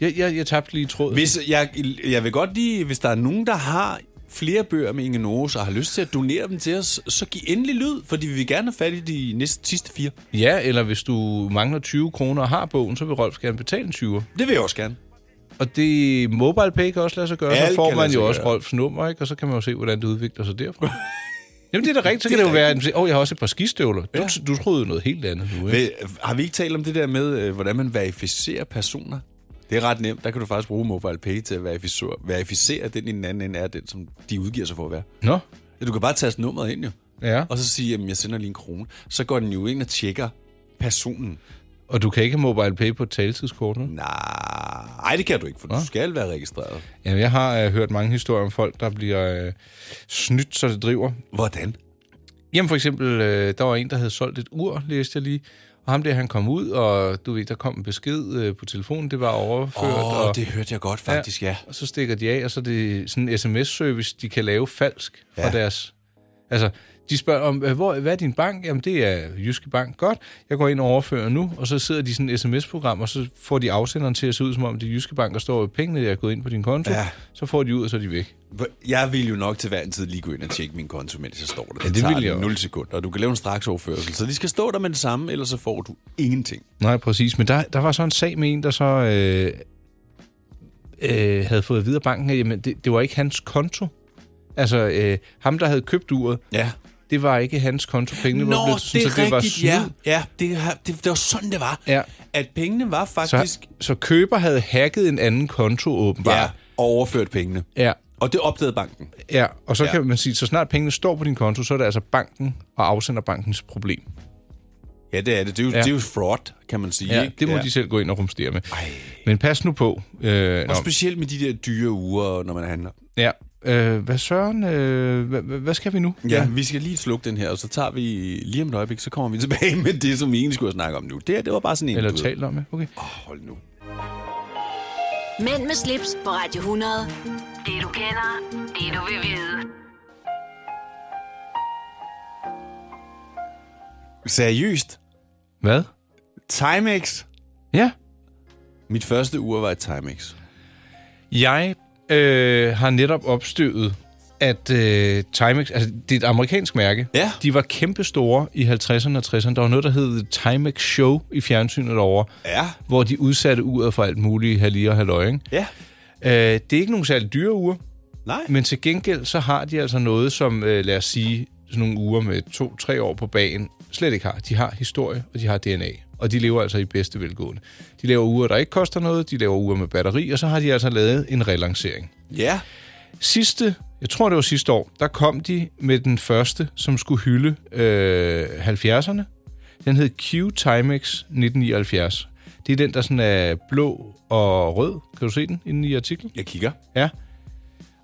Jeg, jeg, jeg tabte lige tråden. Hvis jeg, jeg vil godt lige, hvis der er nogen, der har flere bøger med Inge Norge, og har lyst til at donere dem til os, så giv endelig lyd, fordi vi vil gerne have fat i de næste sidste fire. Ja, eller hvis du mangler 20 kroner og har bogen, så vil Rolf gerne betale en 20'er. Det vil jeg også gerne. Og det MobilePay kan også lade sig gøre. Alt så får kan lade man sig jo også gøre. Rolfs nummer, ikke? og så kan man jo se, hvordan det udvikler sig derfra. Jamen, det er da rigtigt. Så kan det, jo være, at åh, oh, jeg har også et par skistøvler. Du, du troede jo noget helt andet nu, ikke? Ved, har vi ikke talt om det der med, øh, hvordan man verificerer personer? Det er ret nemt. Der kan du faktisk bruge MobilePay til at verificere, verificere at den i den anden ende er den, som de udgiver sig for at være. Nå, Ja, Du kan bare taste nummeret ind jo. Ja. Og så sige, at jeg sender lige en krone. Så går den jo ind og tjekker personen. og du kan ikke have MobilePay på et taletidskort, nu? Nej, det kan du ikke, for du skal være registreret. Jamen, jeg har øh, hørt mange historier om folk, der bliver øh, snydt, så det driver. Hvordan? Jamen for eksempel, øh, der var en, der havde solgt et ur, læste jeg lige. Og ham der, han kom ud, og du ved, der kom en besked øh, på telefonen, det var overført. Åh, og, det hørte jeg godt faktisk, ja. Og så stikker de af, og så er det sådan en sms-service, de kan lave falsk fra Ja. deres... Altså, de spørger om, "Øh, hvor, hvad er din bank? Jamen, det er Jyske Bank. Godt, jeg går ind og overfører nu, og så sidder de i sådan et sms-program, og så får de afsenderen til at se ud, som om det er Jyske Bank, og står ved pengene, jeg er gået ind på din konto. Ja. Så får de ud, og så er de væk. Jeg vil jo nok til hver en tid lige gå ind og tjekke min konto, mens jeg står der. Ja, det vil jeg også. 0 sekunder, og du kan lave en straks overførsel. Så de skal stå der med det samme, ellers så får du ingenting. Nej, præcis. Men der, der var så en sag med en, der så øh, øh, havde fået videre banken, at jamen, det, det var ikke hans konto. Altså, øh, ham, der havde købt uret, ja. det var ikke hans konto. Pengene Nå, var blevet, det er så det var rigtigt, snyd. ja. ja det, har- det, det var sådan, det var. Ja. At pengene var faktisk... Så, så køber havde hacket en anden konto, åbenbart. Ja, og overført pengene. Ja. Og det opdagede banken. Ja, og så Ja. ja. kan man sige, så snart pengene står på din konto, så er det altså banken og afsenderbankens problem. Ja, det er det. Det er jo, Ja. ja. det er jo fraud, kan man sige. Ja, ikke? det må ja. ja. de selv gå ind og rumstere med. Ej. Men pas nu på. Øh, Og nå, specielt med de der dyre uger, når man handler. ja. øh, hvad søren, øh, hvad, hvad hvad skal vi nu? Ja, ja, vi skal lige slukke den her, og så tager vi lige om et øjeblik, så kommer vi tilbage med det, som vi egentlig skulle snakke om nu. Det her, det var bare sådan en... Eller du ved. talt om, ja. Okay. Åh, oh, hold nu. Mænd med slips på Radio 100. Det du kender, det du vil vide. Seriøst? Hvad? Timex? Ja. Mit første ur var et Timex. Jeg øh, har netop opstøvet, at øh, Timex, altså det er et amerikansk mærke, ja. de var kæmpestore i 50'erne og 60'erne. Der var noget, der hed Timex Show i fjernsynet derovre, ja. hvor de udsatte uret for alt muligt, halvlige og halvøje. ikke? Ja. Øh, det er ikke nogen særlig dyre uger, Nej. men til gengæld så har de altså noget, som øh, lad os sige, sådan nogle uger med to-tre år på bagen slet ikke har. De har historie, og de har DNA, og de lever altså i bedste velgående. De laver uger, der ikke koster noget, de laver uger med batteri, og så har de altså lavet en relancering. Ja. Sidste, jeg tror det var sidste år, der kom de med den første, som skulle hylde øh, 70'erne. Den hed Q Timex 1979. Det er den, der sådan er blå og rød. Kan du se den inde i artiklen? Jeg kigger. Ja.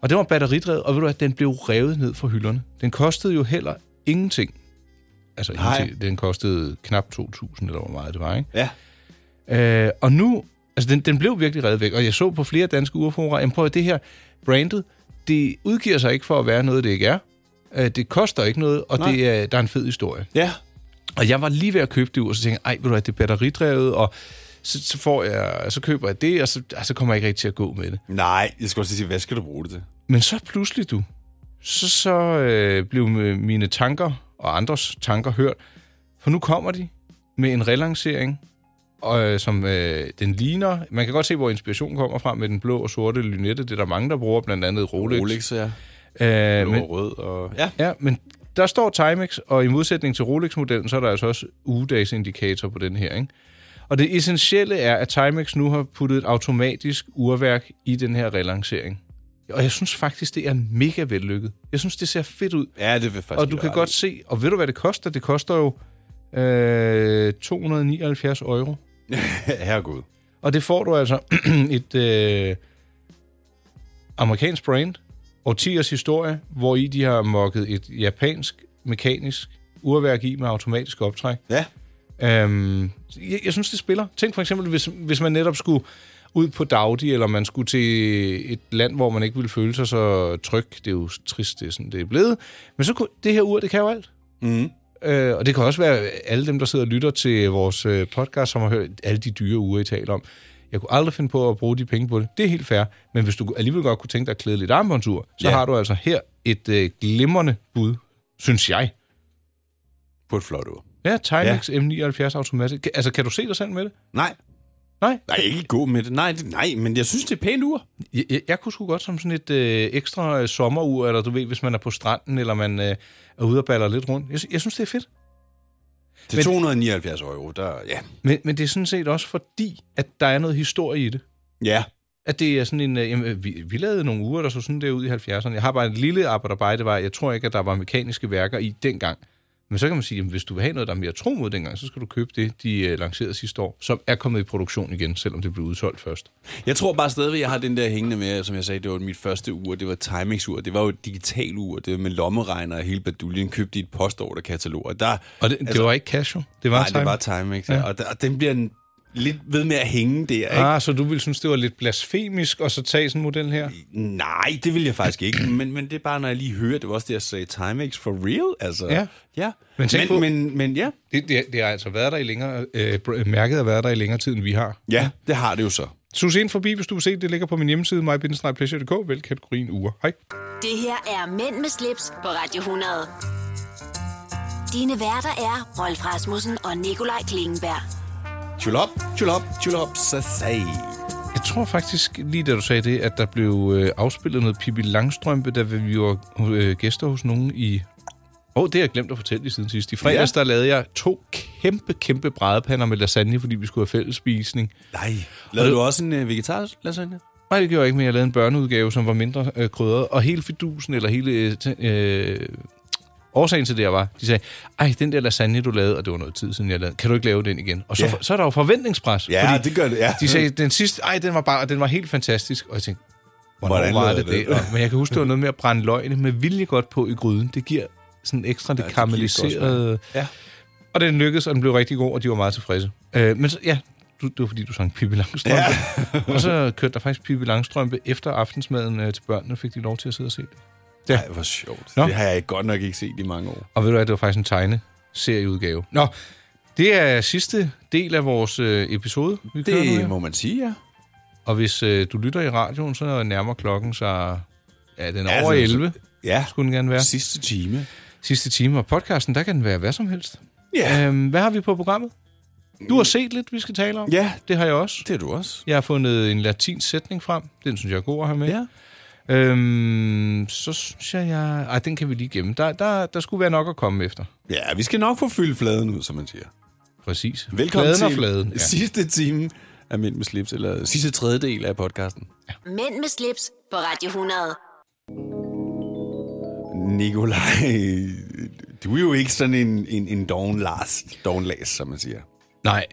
Og den var batteridrevet, og ved du at den blev revet ned fra hylderne. Den kostede jo heller ingenting. Altså, Nej. ingenting. den kostede knap 2.000, eller hvor meget det var, ikke? Ja. Øh, og nu, altså den, den blev virkelig reddet væk, og jeg så på flere danske urfora, jamen prøv at det her brandet, det udgiver sig ikke for at være noget, det ikke er. Øh, det koster ikke noget, og Nej. det er, der er en fed historie. Ja. Og jeg var lige ved at købe det ur, så tænkte jeg, ej, ved du hvad, det er batteridrevet, og så, så, får jeg, så køber jeg det, og så, og så kommer jeg ikke rigtig til at gå med det. Nej, jeg skulle også lige sige, hvad skal du bruge det til? Men så pludselig, du, så, så øh, blev m- mine tanker og andres tanker hørt. For nu kommer de med en relancering, og, øh, som øh, den ligner. Man kan godt se, hvor inspirationen kommer fra med den blå og sorte lynette. Det er der mange, der bruger, blandt andet Rolex. Rolex, ja. Øh, Blå men- og rød og... Ja. ja, men der står Timex, og i modsætning til Rolex-modellen, så er der altså også ugedagsindikator på den her, ikke? Og det essentielle er, at Timex nu har puttet et automatisk urværk i den her relancering. Og jeg synes faktisk, det er mega vellykket. Jeg synes, det ser fedt ud. Ja, det vil faktisk Og du være kan godt se, og ved du, hvad det koster? Det koster jo øh, 279 euro. Herregud. Og det får du altså et øh, amerikansk brand, årtiers historie, hvor i de har mokket et japansk mekanisk urværk i med automatisk optræk. Ja. Øhm, jeg, jeg synes, det spiller. Tænk for eksempel, hvis, hvis man netop skulle ud på Daudi, eller man skulle til et land, hvor man ikke ville føle sig så tryg. Det er jo trist, det er sådan, det er blevet. Men så kunne, det her ur, det kan jo alt. Mm. Øh, og det kan også være alle dem, der sidder og lytter til vores øh, podcast, som har hørt alle de dyre uger, I taler om. Jeg kunne aldrig finde på at bruge de penge på det. Det er helt fair. Men hvis du alligevel godt kunne tænke dig at klæde lidt armbåndsur, så Ja. ja. har du altså her et øh, glimrende bud, synes jeg. På et flot ur. Ja, Timex ja. M79 Automatic. Kan- Altså, kan du se dig selv med det? Nej. Nej? Nej, ikke god med Uh, det. Nej, det, nej, men jeg synes, det er pænt ur. Jeg, jeg, jeg kunne sgu godt som sådan et øh, ekstra øh, sommerur, eller du ved, hvis man er på stranden, eller man øh, er ude og baller lidt rundt. Jeg, sy- jeg synes, det er fedt. Til 279 euro, der... Ja. Men, men det er sådan set også fordi, at der er noget historie i det. Ja. At det er sådan en... Øh, jamen, øh, vi, vi lavede nogle uger, der så sådan der ud i 70'erne. Jeg har bare et lille arbejderbejde, var, jeg tror ikke, at der var mekaniske værker i dengang. Men så kan man sige, at hvis du vil have noget, der er mere tro mod dengang, så skal du købe det, de øh, lancerede sidste år, som er kommet i produktion igen, selvom det blev udsolgt først. Jeg tror bare stadigvæk, jeg har den der hængende med, som jeg sagde, det var mit første ur, det var timingsur, det var jo et digital ur, det var med lommeregner og hele baduljen, købte i et postorderkatalog, og der... Og det, altså, det var ikke Casio, det var nej, Time. det var Timex, ja. Ja. Og, der, og den bliver en- lidt ved med at hænge der, ikke? Ah, så du ville synes, det var lidt blasfemisk at så tage sådan en model her? Nej, det vil jeg faktisk ikke, men, men det er bare, når jeg lige hører, det var også det, jeg sagde, Timex for real, altså. Ja. ja. Men tænk men, på- men, men ja. Det, det, det har altså været der i længere... Øh, br- mærket har været der i længere tid, end vi har. ja, det har det jo så. Sus ind forbi, hvis du vil se. Det ligger på min hjemmeside, mybindestrejpleasure.dk. Vælg kategorien uger. Hej. Det her er Mænd med slips på Radio 100. Dine værter er Rolf Rasmussen og Nikolaj Klingenberg. Tjulop, tjulop, tjulop, så sag. Jeg tror faktisk, lige da du sagde det, at der blev øh, afspillet noget Pippi Langstrømpe, da vi var øh, gæster hos nogen i... Åh, oh, det har jeg glemt at fortælle lige siden sidst. I fredags, ja. der lavede jeg to kæmpe, kæmpe bradepander med lasagne, fordi vi skulle have fællesspisning. Nej. Lavede du også en øh, vegetarisk lasagne? Nej, det gjorde jeg ikke, men jeg lavede en børneudgave, som var mindre øh, krydret. Og hele fidusen, eller hele... Øh, t- øh, årsagen til det her var, de sagde, ej, den der lasagne, du lavede, og det var noget tid siden, jeg lavede, kan du ikke lave den igen? Og så, Ja. ja. så er der jo forventningspres. Ja, det gør det, ja. De sagde, den sidste, ej, den var, bare, den var helt fantastisk. Og jeg tænkte, hvornår Hvordan Hvordan var lavede det jeg det? det? Og, men jeg kan huske, det var noget med at brænde løgene med vilje godt på i gryden. Det giver sådan ekstra det giver ja, et godt karamelliserede... Ja. Og den lykkedes, og den blev rigtig god, og de var meget tilfredse. Øh, men så, ja, du, det var fordi, du sang Pippi Langstrømpe. Ja. og så kørte der faktisk Pippi Langstrømpe efter aftensmaden øh, til børnene, fik de lov til at sidde og se det. Ja. Ej, hvor sjovt. Nå. Det har jeg godt nok ikke set i mange år. Og ved du hvad, det var faktisk en tegneserieudgave. Nå, det er sidste del af vores øh, episode, vi kører nu Det her. må man sige, ja. Og hvis øh, du lytter i radioen, så nærmer klokken sig... Ja, den er Ja, over den er så- 11. Ja. Skulle den gerne være. Sidste time. Sidste time. Og podcasten, der kan den være hvad som helst. Øh. Ja. Øhm, hvad har vi på programmet? Du har set lidt, vi skal tale om. Ja. Det har jeg også. Det har du også. Jeg har fundet en latinsk sætning frem. Den synes jeg er god at have med. Ja. Øhm, så synes jeg, jeg... Ej, den kan vi lige gemme. Der, der, der skulle være nok at komme efter. Ja, vi skal nok få fyldt fladen ud, som man siger. Præcis. Velkommen Fladen og til fladen, ja. sidste time af Mænd med slips, eller sidste tredjedel af podcasten. Mænd med slips på Radio 100. Nikolaj, du er jo ikke sådan en, en, en doven Lars, doven Lars, som man siger. Nej,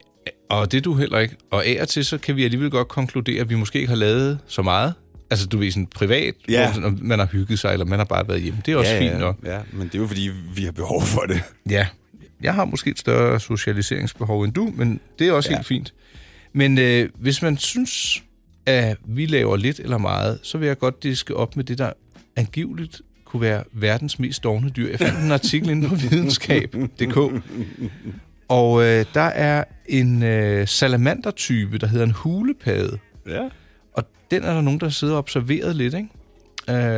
og det er du heller ikke. Og af og til, så kan vi alligevel godt konkludere, at vi måske ikke har lavet så meget. Altså, du ved, sådan privat, Ja. hvor sådan, man har hygget sig, eller man har bare været hjemme. Det er også ja, fint ja, nok. Ja, men det er jo fordi, vi har behov for det. Ja, jeg har måske et større socialiseringsbehov end du, men det er også ja. helt fint. Men øh, hvis man synes, at vi laver lidt eller meget, så vil jeg godt diske op med det, der angiveligt kunne være verdens mest dovne dyr. Jeg fandt en artikel inde på videnskab.dk, og øh, der er en øh, salamandertype, der hedder en hulepade. Ja. Og den er der nogen, der sidder og observeret lidt, ikke?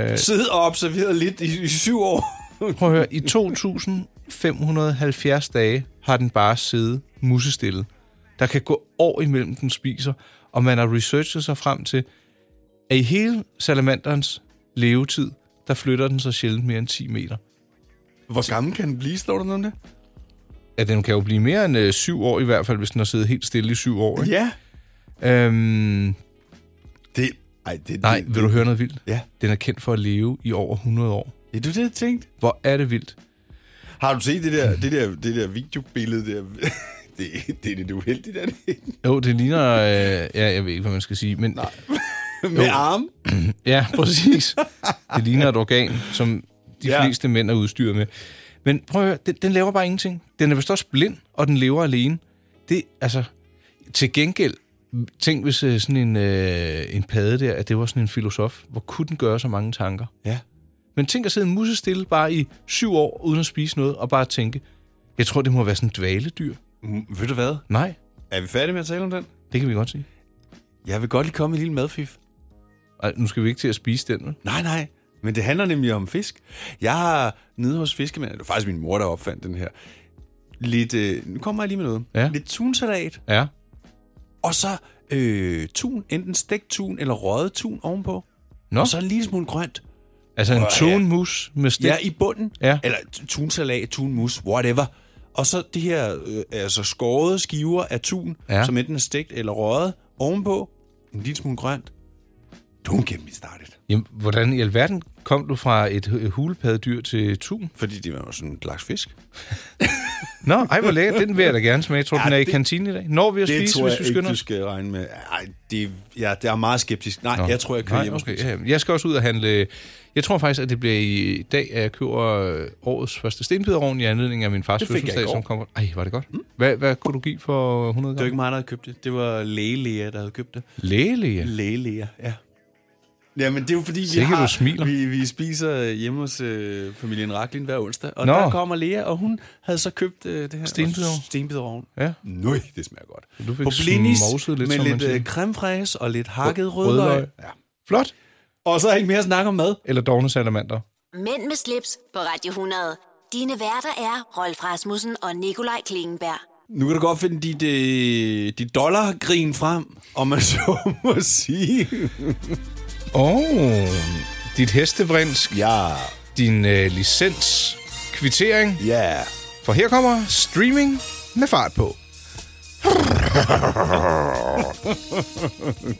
Øh, Sid og observeret lidt i, i syv år. Prøv at høre, i 2570 dage har den bare siddet musestille. Der kan gå år imellem, den spiser, og man har researchet sig frem til, at i hele salamanderens levetid, der flytter den så sjældent mere end 10 meter. Hvor gammel kan den blive, står der noget om det? Ja, den kan jo blive mere end øh, syv år i hvert fald, hvis den har siddet helt stille i syv år. Ikke? Ja. Øhm, det, ej, det, nej, det- vil du høre noget vildt? Ja. Den er kendt for at leve i over 100 år. Ja, du det, jeg tænkte. Hvor er det vildt? Har du set det der, det der, det der videobillede der? Det, det er lidt uheldigt, er det ikke? Jo, det ligner... Øh, ja, jeg ved ikke, hvad man skal sige, men... Nej. Med arm? ja, præcis. Det ligner et organ, som de Ja. ja. fleste mænd er udstyret med. Men prøv at høre, den, den laver bare ingenting. Den er vist også blind, og den lever alene. Det, altså, til gengæld, tænk hvis øh, sådan en, øh, en padde der, at det var sådan en filosof. Hvor kunne den gøre så mange tanker? Ja. Men tænk at sidde musestille bare i syv år, uden at spise noget, og bare tænke, jeg tror, det må være sådan en dvaledyr. Mm, ved du hvad? Nej, Er vi færdige med at tale om den? det kan vi godt sige. Jeg vil godt lige komme med en lille madfif. Ej, nu skal vi ikke til at spise den, vel? Nej, nej. Men det handler nemlig om fisk. Jeg har nede hos fiskemanden, det var faktisk min mor, der opfandt den her, lidt, øh, nu kommer jeg lige med noget, Ja. lidt tunsalat, Ja. og så øh, tun, enten stegt tun eller røget tun ovenpå, Nå. og så en lille smule grønt. Altså en Åh, ja. tunmus med stik. Ja, i bunden. Ja. Eller t- tunsalat, tunmus, whatever. Og så det her øh, altså skårede skiver af tun, ja. Ja. som enten er stegt eller røget ovenpå. En lille smule grønt. Don't get me started. Jamen, hvordan i alverden kom du fra et hu- hulepaddyr til tun? Fordi det var jo sådan en slags fisk. Nå, ej, hvor lækkert. Den vil jeg da gerne smage. Tror du, Ja, den er i det- kantinen i dag? Når vi at det spise, tror jeg hvis vi ikke, skynder du os? skal regne med. Ej, det, ja, det er meget skeptisk. Nej, Nå. jeg tror, jeg kører Nej, hjem og okay, spiser. ja, jamen, Jeg skal også ud og handle... Jeg tror faktisk, at det bliver i dag, at jeg køber øh, årets første stenbiderovn i anledning af min fars Det fik jeg i fødselsdag, går. Mm. som kommer... Ej, var det godt. Hvad, hvad kunne du give for Det 100 var gram? ikke mig, der havde købt det. Det var lægelæger, der havde købt det. Lægelige. Lægelæger, ja. Jamen, det er jo fordi, vi, Sikke, du har, smiler. vi, vi spiser hjemme hos øh, familien Raklin hver onsdag. Og Nå. Nå. der kommer Lea, og hun havde så købt øh, det her Stenbiderovn. stenbiderovn. Ja. Nøj, det smager godt. Du fik På blinis smogset lidt, med som man lidt øh, siger. creme fraise og lidt hakket Rødløg. rødløg. Ja. Flot. Og så er ikke mere at snakke om mad. Eller dogne salamander. Mænd med slips på Radio 100. Dine værter er Rolf Rasmussen og Nikolaj Klingenberg. Nu kan du godt finde dit, øh, dit dollargrin frem, om man så må sige. Åh, oh, dit hestevrinsk. Ja. Din øh, licens. Kvittering. Ja. For her kommer streaming med fart på.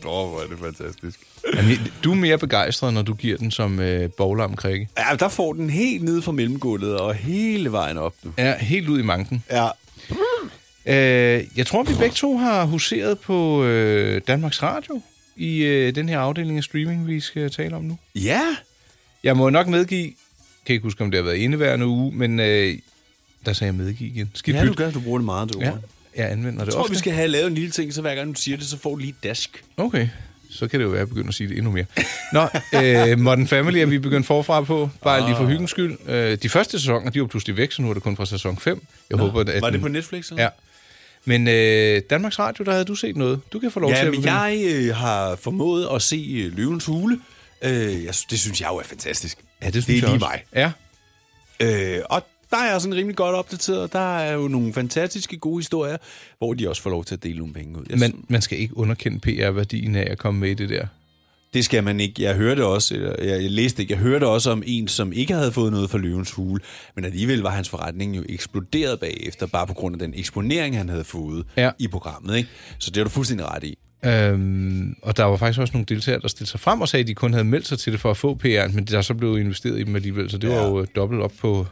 Åh, hvor er det fantastisk. Jamen, du er mere begejstret, når du giver den som øh, boglam krikke. Ja, der får den helt nede fra mellemgulvet og hele vejen op nu. Ja, helt ud i manken. Ja. Øh, jeg tror, vi begge to har huseret på øh, Danmarks Radio i øh, den her afdeling af streaming, vi skal tale om nu. Ja. Jeg må nok medgive, kan ikke huske, om det har været indeværende uge, men øh, der sagde jeg medgive igen. Skidt Ja, du pyt. gør, du bruger det meget, du ja, jeg anvender det Jeg tror, ofte. vi skal have lavet en lille ting, så hver gang du siger det, så får du lige et dask. Okay, så kan det jo være, at jeg begynder at sige det endnu mere. Nå, øh, Modern Family er vi begyndt forfra på, bare lige Ah. for hyggens skyld. Øh, de første sæsoner, de var pludselig væk, så nu er det kun fra sæson 5. Jeg håber, at Var det den- på Netflix? Så? Ja. Men øh, Danmarks Radio, der havde du set noget. Du kan få lov til Ja, at men begynde. jeg øh, har formået at se øh, Løvens Hule. Øh, jeg, sy- det synes jeg jo er fantastisk. Ja, det synes det er jeg lige også. mig. Ja. Øh, og der er jeg sådan rimelig godt opdateret. Der er jo nogle fantastiske gode historier, hvor de også får lov til at dele nogle penge ud. Jeg Man, man skal ikke underkende PR-værdien af at komme med i det der. Det skal man ikke. Jeg hørte også, eller jeg, jeg læste ikke, jeg hørte også om en, som ikke havde fået noget fra løvens hule, men alligevel var hans forretning jo eksploderet bagefter, bare på grund af den eksponering, han havde fået ja. i programmet. Ikke? Så det har du fuldstændig ret i. Øhm, og der var faktisk også nogle deltagere, der stillede sig frem og sagde, at de kun havde meldt sig til det for at få PR'en, men der er så blev investeret i dem alligevel, så det ja. var jo øh, dobbelt op på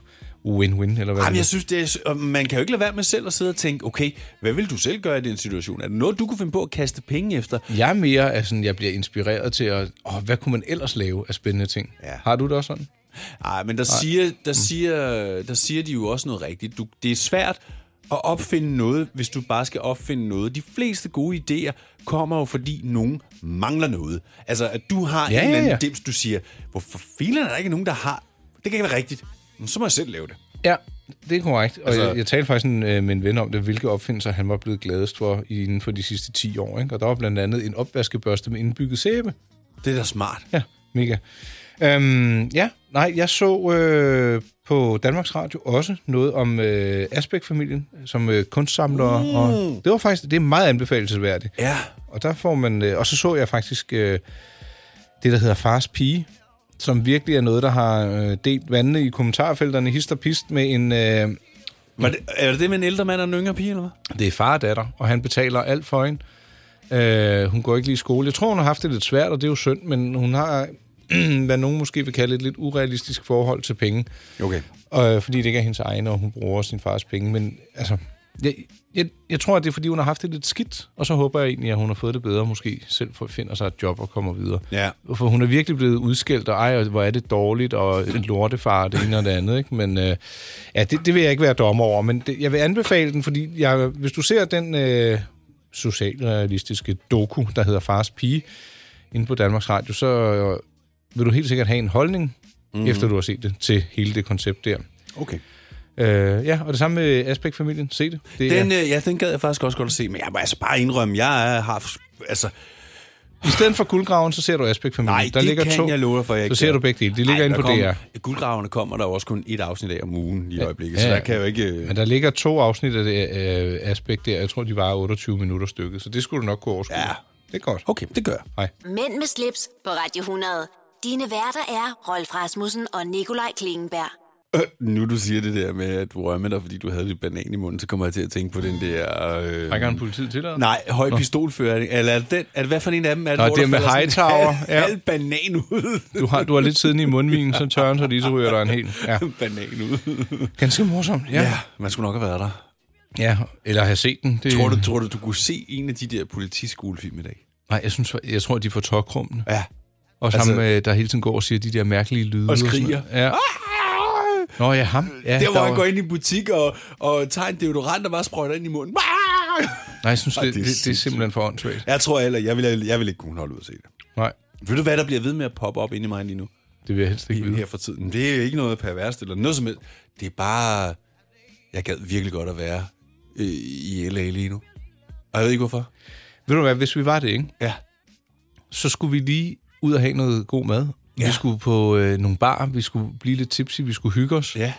win-win, eller hvad Jamen, det jeg synes, det er, og man kan jo ikke lade være med selv at sidde og tænke, okay, hvad vil du selv gøre i den situation? Er det noget, du kunne finde på at kaste penge efter? Jeg er mere af sådan, jeg bliver inspireret til at, åh, hvad kunne man ellers lave af spændende ting? Ja. Har du det også sådan? Nej, Mm. men der siger, der, siger, der siger de jo også noget rigtigt. Du, det er svært at opfinde noget, hvis du bare skal opfinde noget. De fleste gode idéer kommer jo, fordi nogen mangler noget. Altså, at du har ja, Ja, en eller anden ja, ja. dims, du siger, hvorfor filen er der ikke nogen, der har? Det kan ikke være rigtigt. Men så må jeg selv lave det. Ja, det er korrekt. Og Altså- altså, jeg, jeg talte faktisk en, øh, med en ven om det, hvilke opfindelser han var blevet gladest for inden for de sidste 10 år. Ikke? Og der var blandt andet en opvaskebørste med indbygget sæbe. Det er da smart. Ja, mega. Øhm, ja, nej, jeg så øh, på Danmarks Radio også noget om øh, Asbæk-familien, som øh, kunstsamlere. Mm. Mm. Og det var faktisk det er meget anbefalelsesværdigt. Ja. Og der får man, øh, og så så jeg faktisk øh, det, der hedder Fars Pige, som virkelig er noget, der har øh, delt vandene i kommentarfelterne hist og pist med en... Øh, Var det, er det det med en ældre mand og en yngre pige, eller hvad? det er far og datter, og han betaler alt for hende. Øh, hun går ikke lige i skole. Jeg tror, hun har haft det lidt svært, og det er jo synd, men hun har, hvad nogen måske vil kalde et lidt urealistisk forhold til penge. Okay. Øh, fordi det ikke er hendes egne, og hun bruger sin fars penge. Men altså, jeg, jeg, jeg tror, at det er, fordi hun har haft det lidt skidt, og så håber jeg egentlig, at hun har fået det bedre, og måske selv får- finder sig et job og kommer videre. Ja. For hun er virkelig blevet udskældt, og ej, og hvor er det dårligt, og en lortefar, og det ene og det andet. Ikke? Men øh, ja, det, det vil jeg ikke være dommer over, men det, jeg vil anbefale den, fordi jeg, hvis du ser den øh, socialrealistiske doku, der hedder Fars Pige, inde på Danmarks Radio, så øh, vil du helt sikkert have en holdning, Mhm. mm. efter du har set det, til hele det koncept der. Okay. Øh, ja, og det samme med Asbæk-familien. Se det. det Den, er, øh, ja, den gad jeg faktisk også godt at se, men jeg må altså bare indrømme, jeg er- har... Altså, I stedet for guldgraven, så ser du Asbæk-familien. Nej, der det ligger kan to, jeg love dig for, jeg Så ser du begge dele. De ligger inde på DR. kommer, DR. Guldgraverne kommer der jo også kun et afsnit af om ugen lige i øjeblikket, ja, så der kan jeg jo ikke... øh, Men der ligger to afsnit af det øh, aspekt der. Jeg tror, de var 28 minutter stykket, så det skulle du nok kunne overskue. Ja. Det er godt. Okay, det gør jeg. Hej. Mænd med slips på Radio 100. Dine værter er Rolf Rasmussen og Nikolaj Klingenberg. Nu du siger det der med at rømme dig, fordi du havde lidt banan i munden, så kommer jeg til at tænke på den der... Øh, Rækker en politiet til dig? Nej, høj Nå. pistolføring. Eller er det den, er det, hvad for en af dem er det, Nå, hvor det der er med falder sådan Hightower. en halv banan ud. Du har, du har lidt siden i mundvinen, så tørren, så lige så ryger der en hel. Ja. banan ud. Ganske morsomt, ja. ja. man skulle nok have været der. Mm. Ja, eller have set den. Det... Tror, du, tror du, du kunne se en af de der politiskolefilm i dag? Nej, jeg, synes, jeg tror, de får tåkrummene. Ja. Og Altså- sammen med, der hele tiden går og siger de der mærkelige lyde. Og sådan skriger. noget. Ja. Nå ja, ham. Ja, Ja, der, hvor var- han går ind i en butik og, og tager en deodorant og bare sprøjter ind i munden. Ah! Nej, jeg synes, Ej, det, det er det, det, det er simpelthen for åndssvagt. Jeg tror heller, jeg vil, jeg, vil- jeg vil ikke kunne holde ud at se det. Nej. Ved du, hvad der bliver ved med at poppe op inde i mig lige nu? Det vil jeg helst ikke vide. Her for tiden. Det er ikke noget perverst eller noget som helst. Det er bare... Jeg gad virkelig godt at være øh, i LA lige nu. Og jeg ved ikke, hvorfor. Ved du hvad, hvis vi var det, ikke? Ja. Så skulle vi lige ud og have noget god mad. Ja. Vi skulle på øh, nogle bar, vi skulle blive lidt tipsy, vi skulle hygge os. Ja.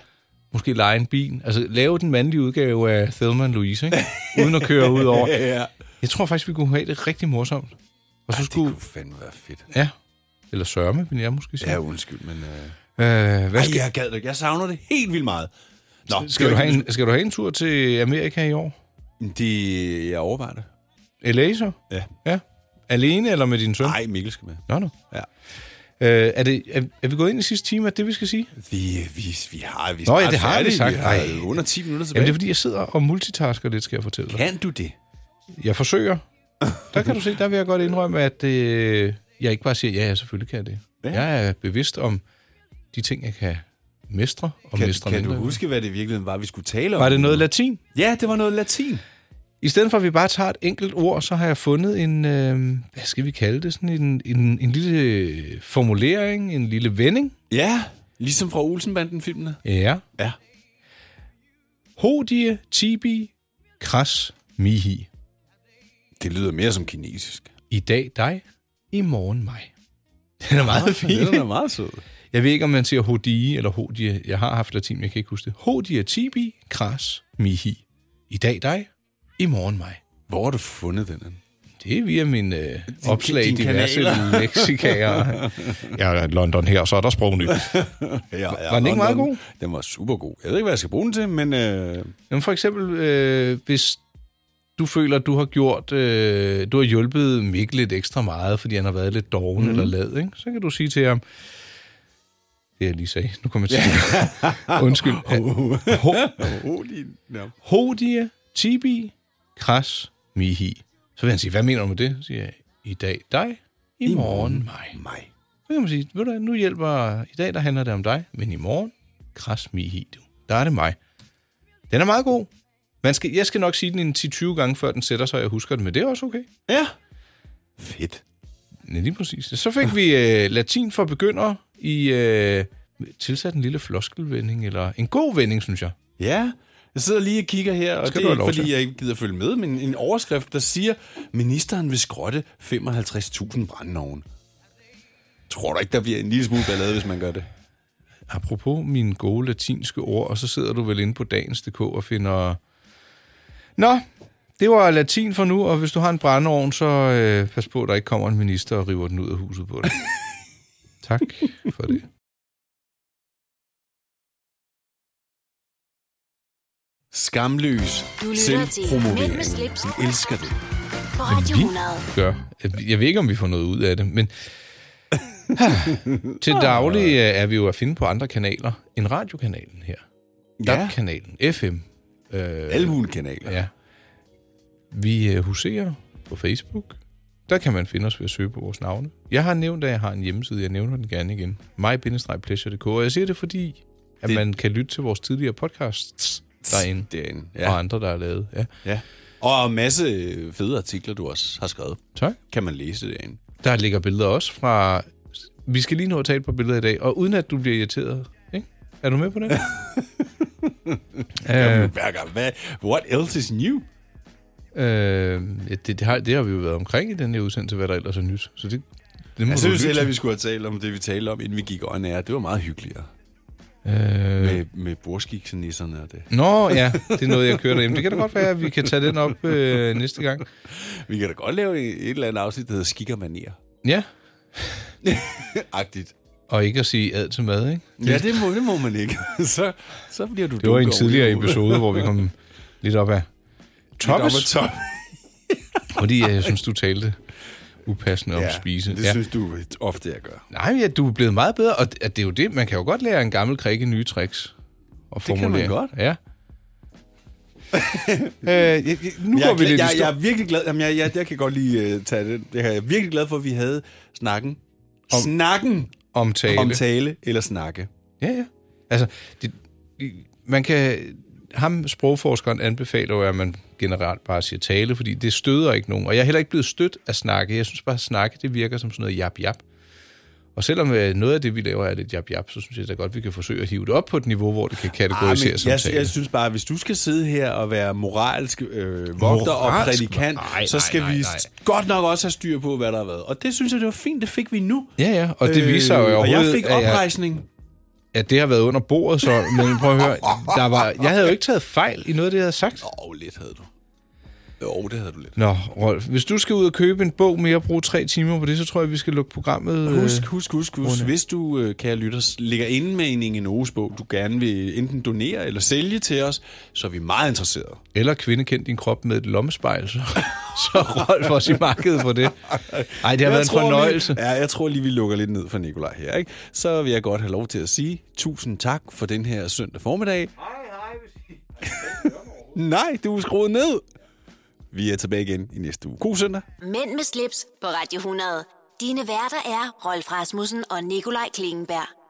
Måske lege en bil. Altså lave den mandlige udgave af Thelma Louise, ikke? Uden at køre ud over. Ja. Jeg tror faktisk, vi kunne have det rigtig morsomt. Og så Ej, skulle... det kunne fandme være fedt. Ja. Eller sørme, vil jeg måske sige. Ja, undskyld, men... Øh... Øh, hvad Ej, skal... jeg gad det. Jeg savner det helt vildt meget. Nå, Skal du, have en, skal du have en tur til Amerika i år? Det, jeg overvejer det. LA så? Ja. ja. Alene eller med din søn? Nej, Mikkel skal med. Nå, nå. Ja. Øh, er, det, er, er vi gået ind i sidste time, at det vi skal sige? Vi, vi, vi har... Vi er Nå ja, snart det har vi færdige. sagt. Vi har Ej. under 10 minutter tilbage. Jamen, det er fordi, jeg sidder og multitasker lidt, skal jeg fortælle dig. Kan du det? Jeg forsøger. Der kan du se, der vil jeg godt indrømme, at øh, jeg ikke bare siger, ja, ja, selvfølgelig kan jeg det. Ja. Ja. Jeg er bevidst om de ting, jeg kan mestre og Kan, mestre kan du mindre. huske, hvad det i virkeligheden var, vi skulle tale om? Var det noget latin? Ja, det var noget latin. I stedet for, at vi bare tager et enkelt ord, så har jeg fundet en, øh, hvad skal vi kalde det, sådan en, en, en lille øh, formulering, en lille vending. Ja, ligesom fra Olsenbanden-filmene. Ja. Ja. Hodie tibi kras Mihi. Det lyder mere som kinesisk. I dag dig, i morgen mig. Den er meget fin. Den Ah, er meget sød. Jeg ved ikke, om man siger hodie eller hodie. Jeg har haft latin, men jeg kan ikke huske det. Hodie tibi kras mihi. I dag dig, i morgen mig. Hvor har du fundet den? henne? Det er via min øh, opslag i dine diverse kanaler. leksikager. Jeg er i London her, så er der sprognyt. Ja, ja, Var den ikke meget god? Den var super god. Jeg ved ikke, hvad jeg skal bruge den til, men... Øh, Jamen for eksempel, øh, hvis du føler, at du har gjort, øh, du har hjulpet Mikkel lidt ekstra meget, fordi han har været lidt doven mm. eller lad, ikke? så kan du sige til ham, det jeg lige sagde, nu kommer jeg til ja. Undskyld. ja. Hodie, tibi, kras, mihi. Så vil han sige, hvad mener du med det? Så siger jeg, i dag dig, i, I morgen morgen mig. mig. Så kan man sige, ved du hvad, nu hjælper, i dag der handler det om dig, men i morgen, kras mihi, du. Der er det mig. Den er meget god. Man skal, jeg skal nok sige den en 10-20 gange, før den sætter sig, og jeg husker den, men det er også okay. Ja. Fedt. Ja, lige præcis. Så fik vi øh, latin for begyndere i øh, tilsat en lille floskelvending, eller en god vending, synes jeg. Ja, jeg sidder lige og kigger her, og Skal det du er have ikke, lov fordi til. jeg ikke gider følge med, men en overskrift, der siger, ministeren vil skrotte 55.000 brændeovne. Tror du ikke, der bliver en lille smule ballade, hvis man gør det? Apropos mine gode latinske ord, og så sidder du vel inde på dagens.dk og finder... Nå, det var latin for nu, og hvis du har en brændeovn, så øh, pas på, at der ikke kommer en minister og river den ud af huset på dig. tak for det. Skamløs Du lytter til Mænd med selvpromovering. slips. Jeg elsker det. på Radio vi 100. gør. Jeg- Jeg ved ikke, om vi får noget ud af det, men til daglig øh, er vi jo at finde på andre kanaler end radiokanalen her. Ja. DAB-kanalen, FM. Øh, Alle mulige kanaler. Ja. Vi øh, huserer på Facebook. Der kan man finde os ved at søge på vores navne. Jeg har nævnt, at jeg har en hjemmeside. Jeg nævner den gerne igen. mig-pleasure.dk. Og jeg siger det, fordi at Det- man kan lytte til vores tidligere podcasts derinde. Derinde, ja. Ja. Og andre, der er lavet. Ja. Ja. Og en masse øh, fede artikler, du også har skrevet. Tak. Kan man læse derinde. Der ligger billeder også fra... Vi skal lige nå at tale på billeder i dag, og uden at du bliver irriteret. Ikke? Er du med på det? Jamen, hver gang. Hvad? What else is new? øh, ja, det, det, har, det har vi jo været omkring i den her udsendelse, hvad der ellers er nyt. Så det, det må Jeg du synes lytte heller, at til. Altså, vi skulle have talt om det, vi talte om, inden vi gik on air. Det var meget hyggeligere. Øh, Med, med bordskiksenisserne og det. Nå ja, det er noget, jeg kører derhjemme. Det kan da godt være, at vi kan tage den op øh, næste gang. Vi kan da godt lave et eller andet afsnit, der hedder Skik og Manier. Ja, Agtigt. og ikke at sige ad til mad, ikke? Ja, det må, det må man ikke. så, så bliver du Det var en dunker tidligere ude. episode, hvor vi kom lidt op af Lidt Toppes, op ad top. fordi øh, jeg synes, du talte upassende om Ja, at spise. det synes du ofte, jeg gør. Nej, men ja, du er blevet meget bedre, og det, at det er jo det. Man kan jo godt lære en gammel krikke nye tricks. Og kan man formulere. godt. Ja. øh, jeg, jeg, nu jeg, går er vi glad- lidt jeg, i stå. jeg er virkelig glad. Jamen, jeg, jeg, jeg kan godt lige uh, tage den. Jeg er virkelig glad for, at vi havde snakken. Om, snakken om tale. om tale eller snakke. Ja, ja. Altså, det, man kan... Ham, sprogforskeren, anbefaler jo, at man generelt bare siger tale, fordi det støder ikke nogen. Og jeg er heller ikke blevet stødt af snakke. Jeg synes bare, at snakke, det virker som sådan noget jap-jap. Og selvom øh, noget af det, vi laver, er lidt jap-jap, så synes jeg da godt, vi kan forsøge at hive det op på et niveau, hvor det kan Ah, kategoriseres men som jeg, tale. jeg synes bare, at hvis du skal sidde her og være moralsk øh, vogter og Moralsk? prædikant, Nej, så nej, skal nej, vi nej. godt nok også have styr på, hvad der har været. Og det synes jeg, det var fint, det fik vi nu. Ja, ja, og det viser jo Øh, Og jeg overhovedet, fik at jeg- oprejsning. at det har været under bordet, så, men prøv at høre, der var, jeg havde jo ikke taget fejl i noget af det, jeg havde sagt. Åh, oh, lidt havde du. Jo, det havde du lidt. Nå, Rolf, hvis du skal ud og købe en bog mere og bruge tre timer på det, så tror jeg, vi skal lukke programmet. Husk, øh, husk, husk, husk. Rune. Hvis du, øh, kære lytter, ligger inde med en Ingenos bog, du gerne vil enten donere eller sælge til os, så er vi meget interesserede. Eller kvinde kend din krop med et lommespejl, så, så Rolf også i markedet for det. Nej, det har Jeg været en tror, fornøjelse. Vi, ja, jeg tror lige, vi lukker lidt ned for Nikolaj her. Ikke? Så vil jeg godt have lov til at sige tusind tak for den her søndag formiddag. Nej, du er skruet ned. Vi er tilbage igen i næste uge. God søndag. Mænd med slips på Radio 100. Dine værter er Rolf Rasmussen og Nikolaj Klingenberg.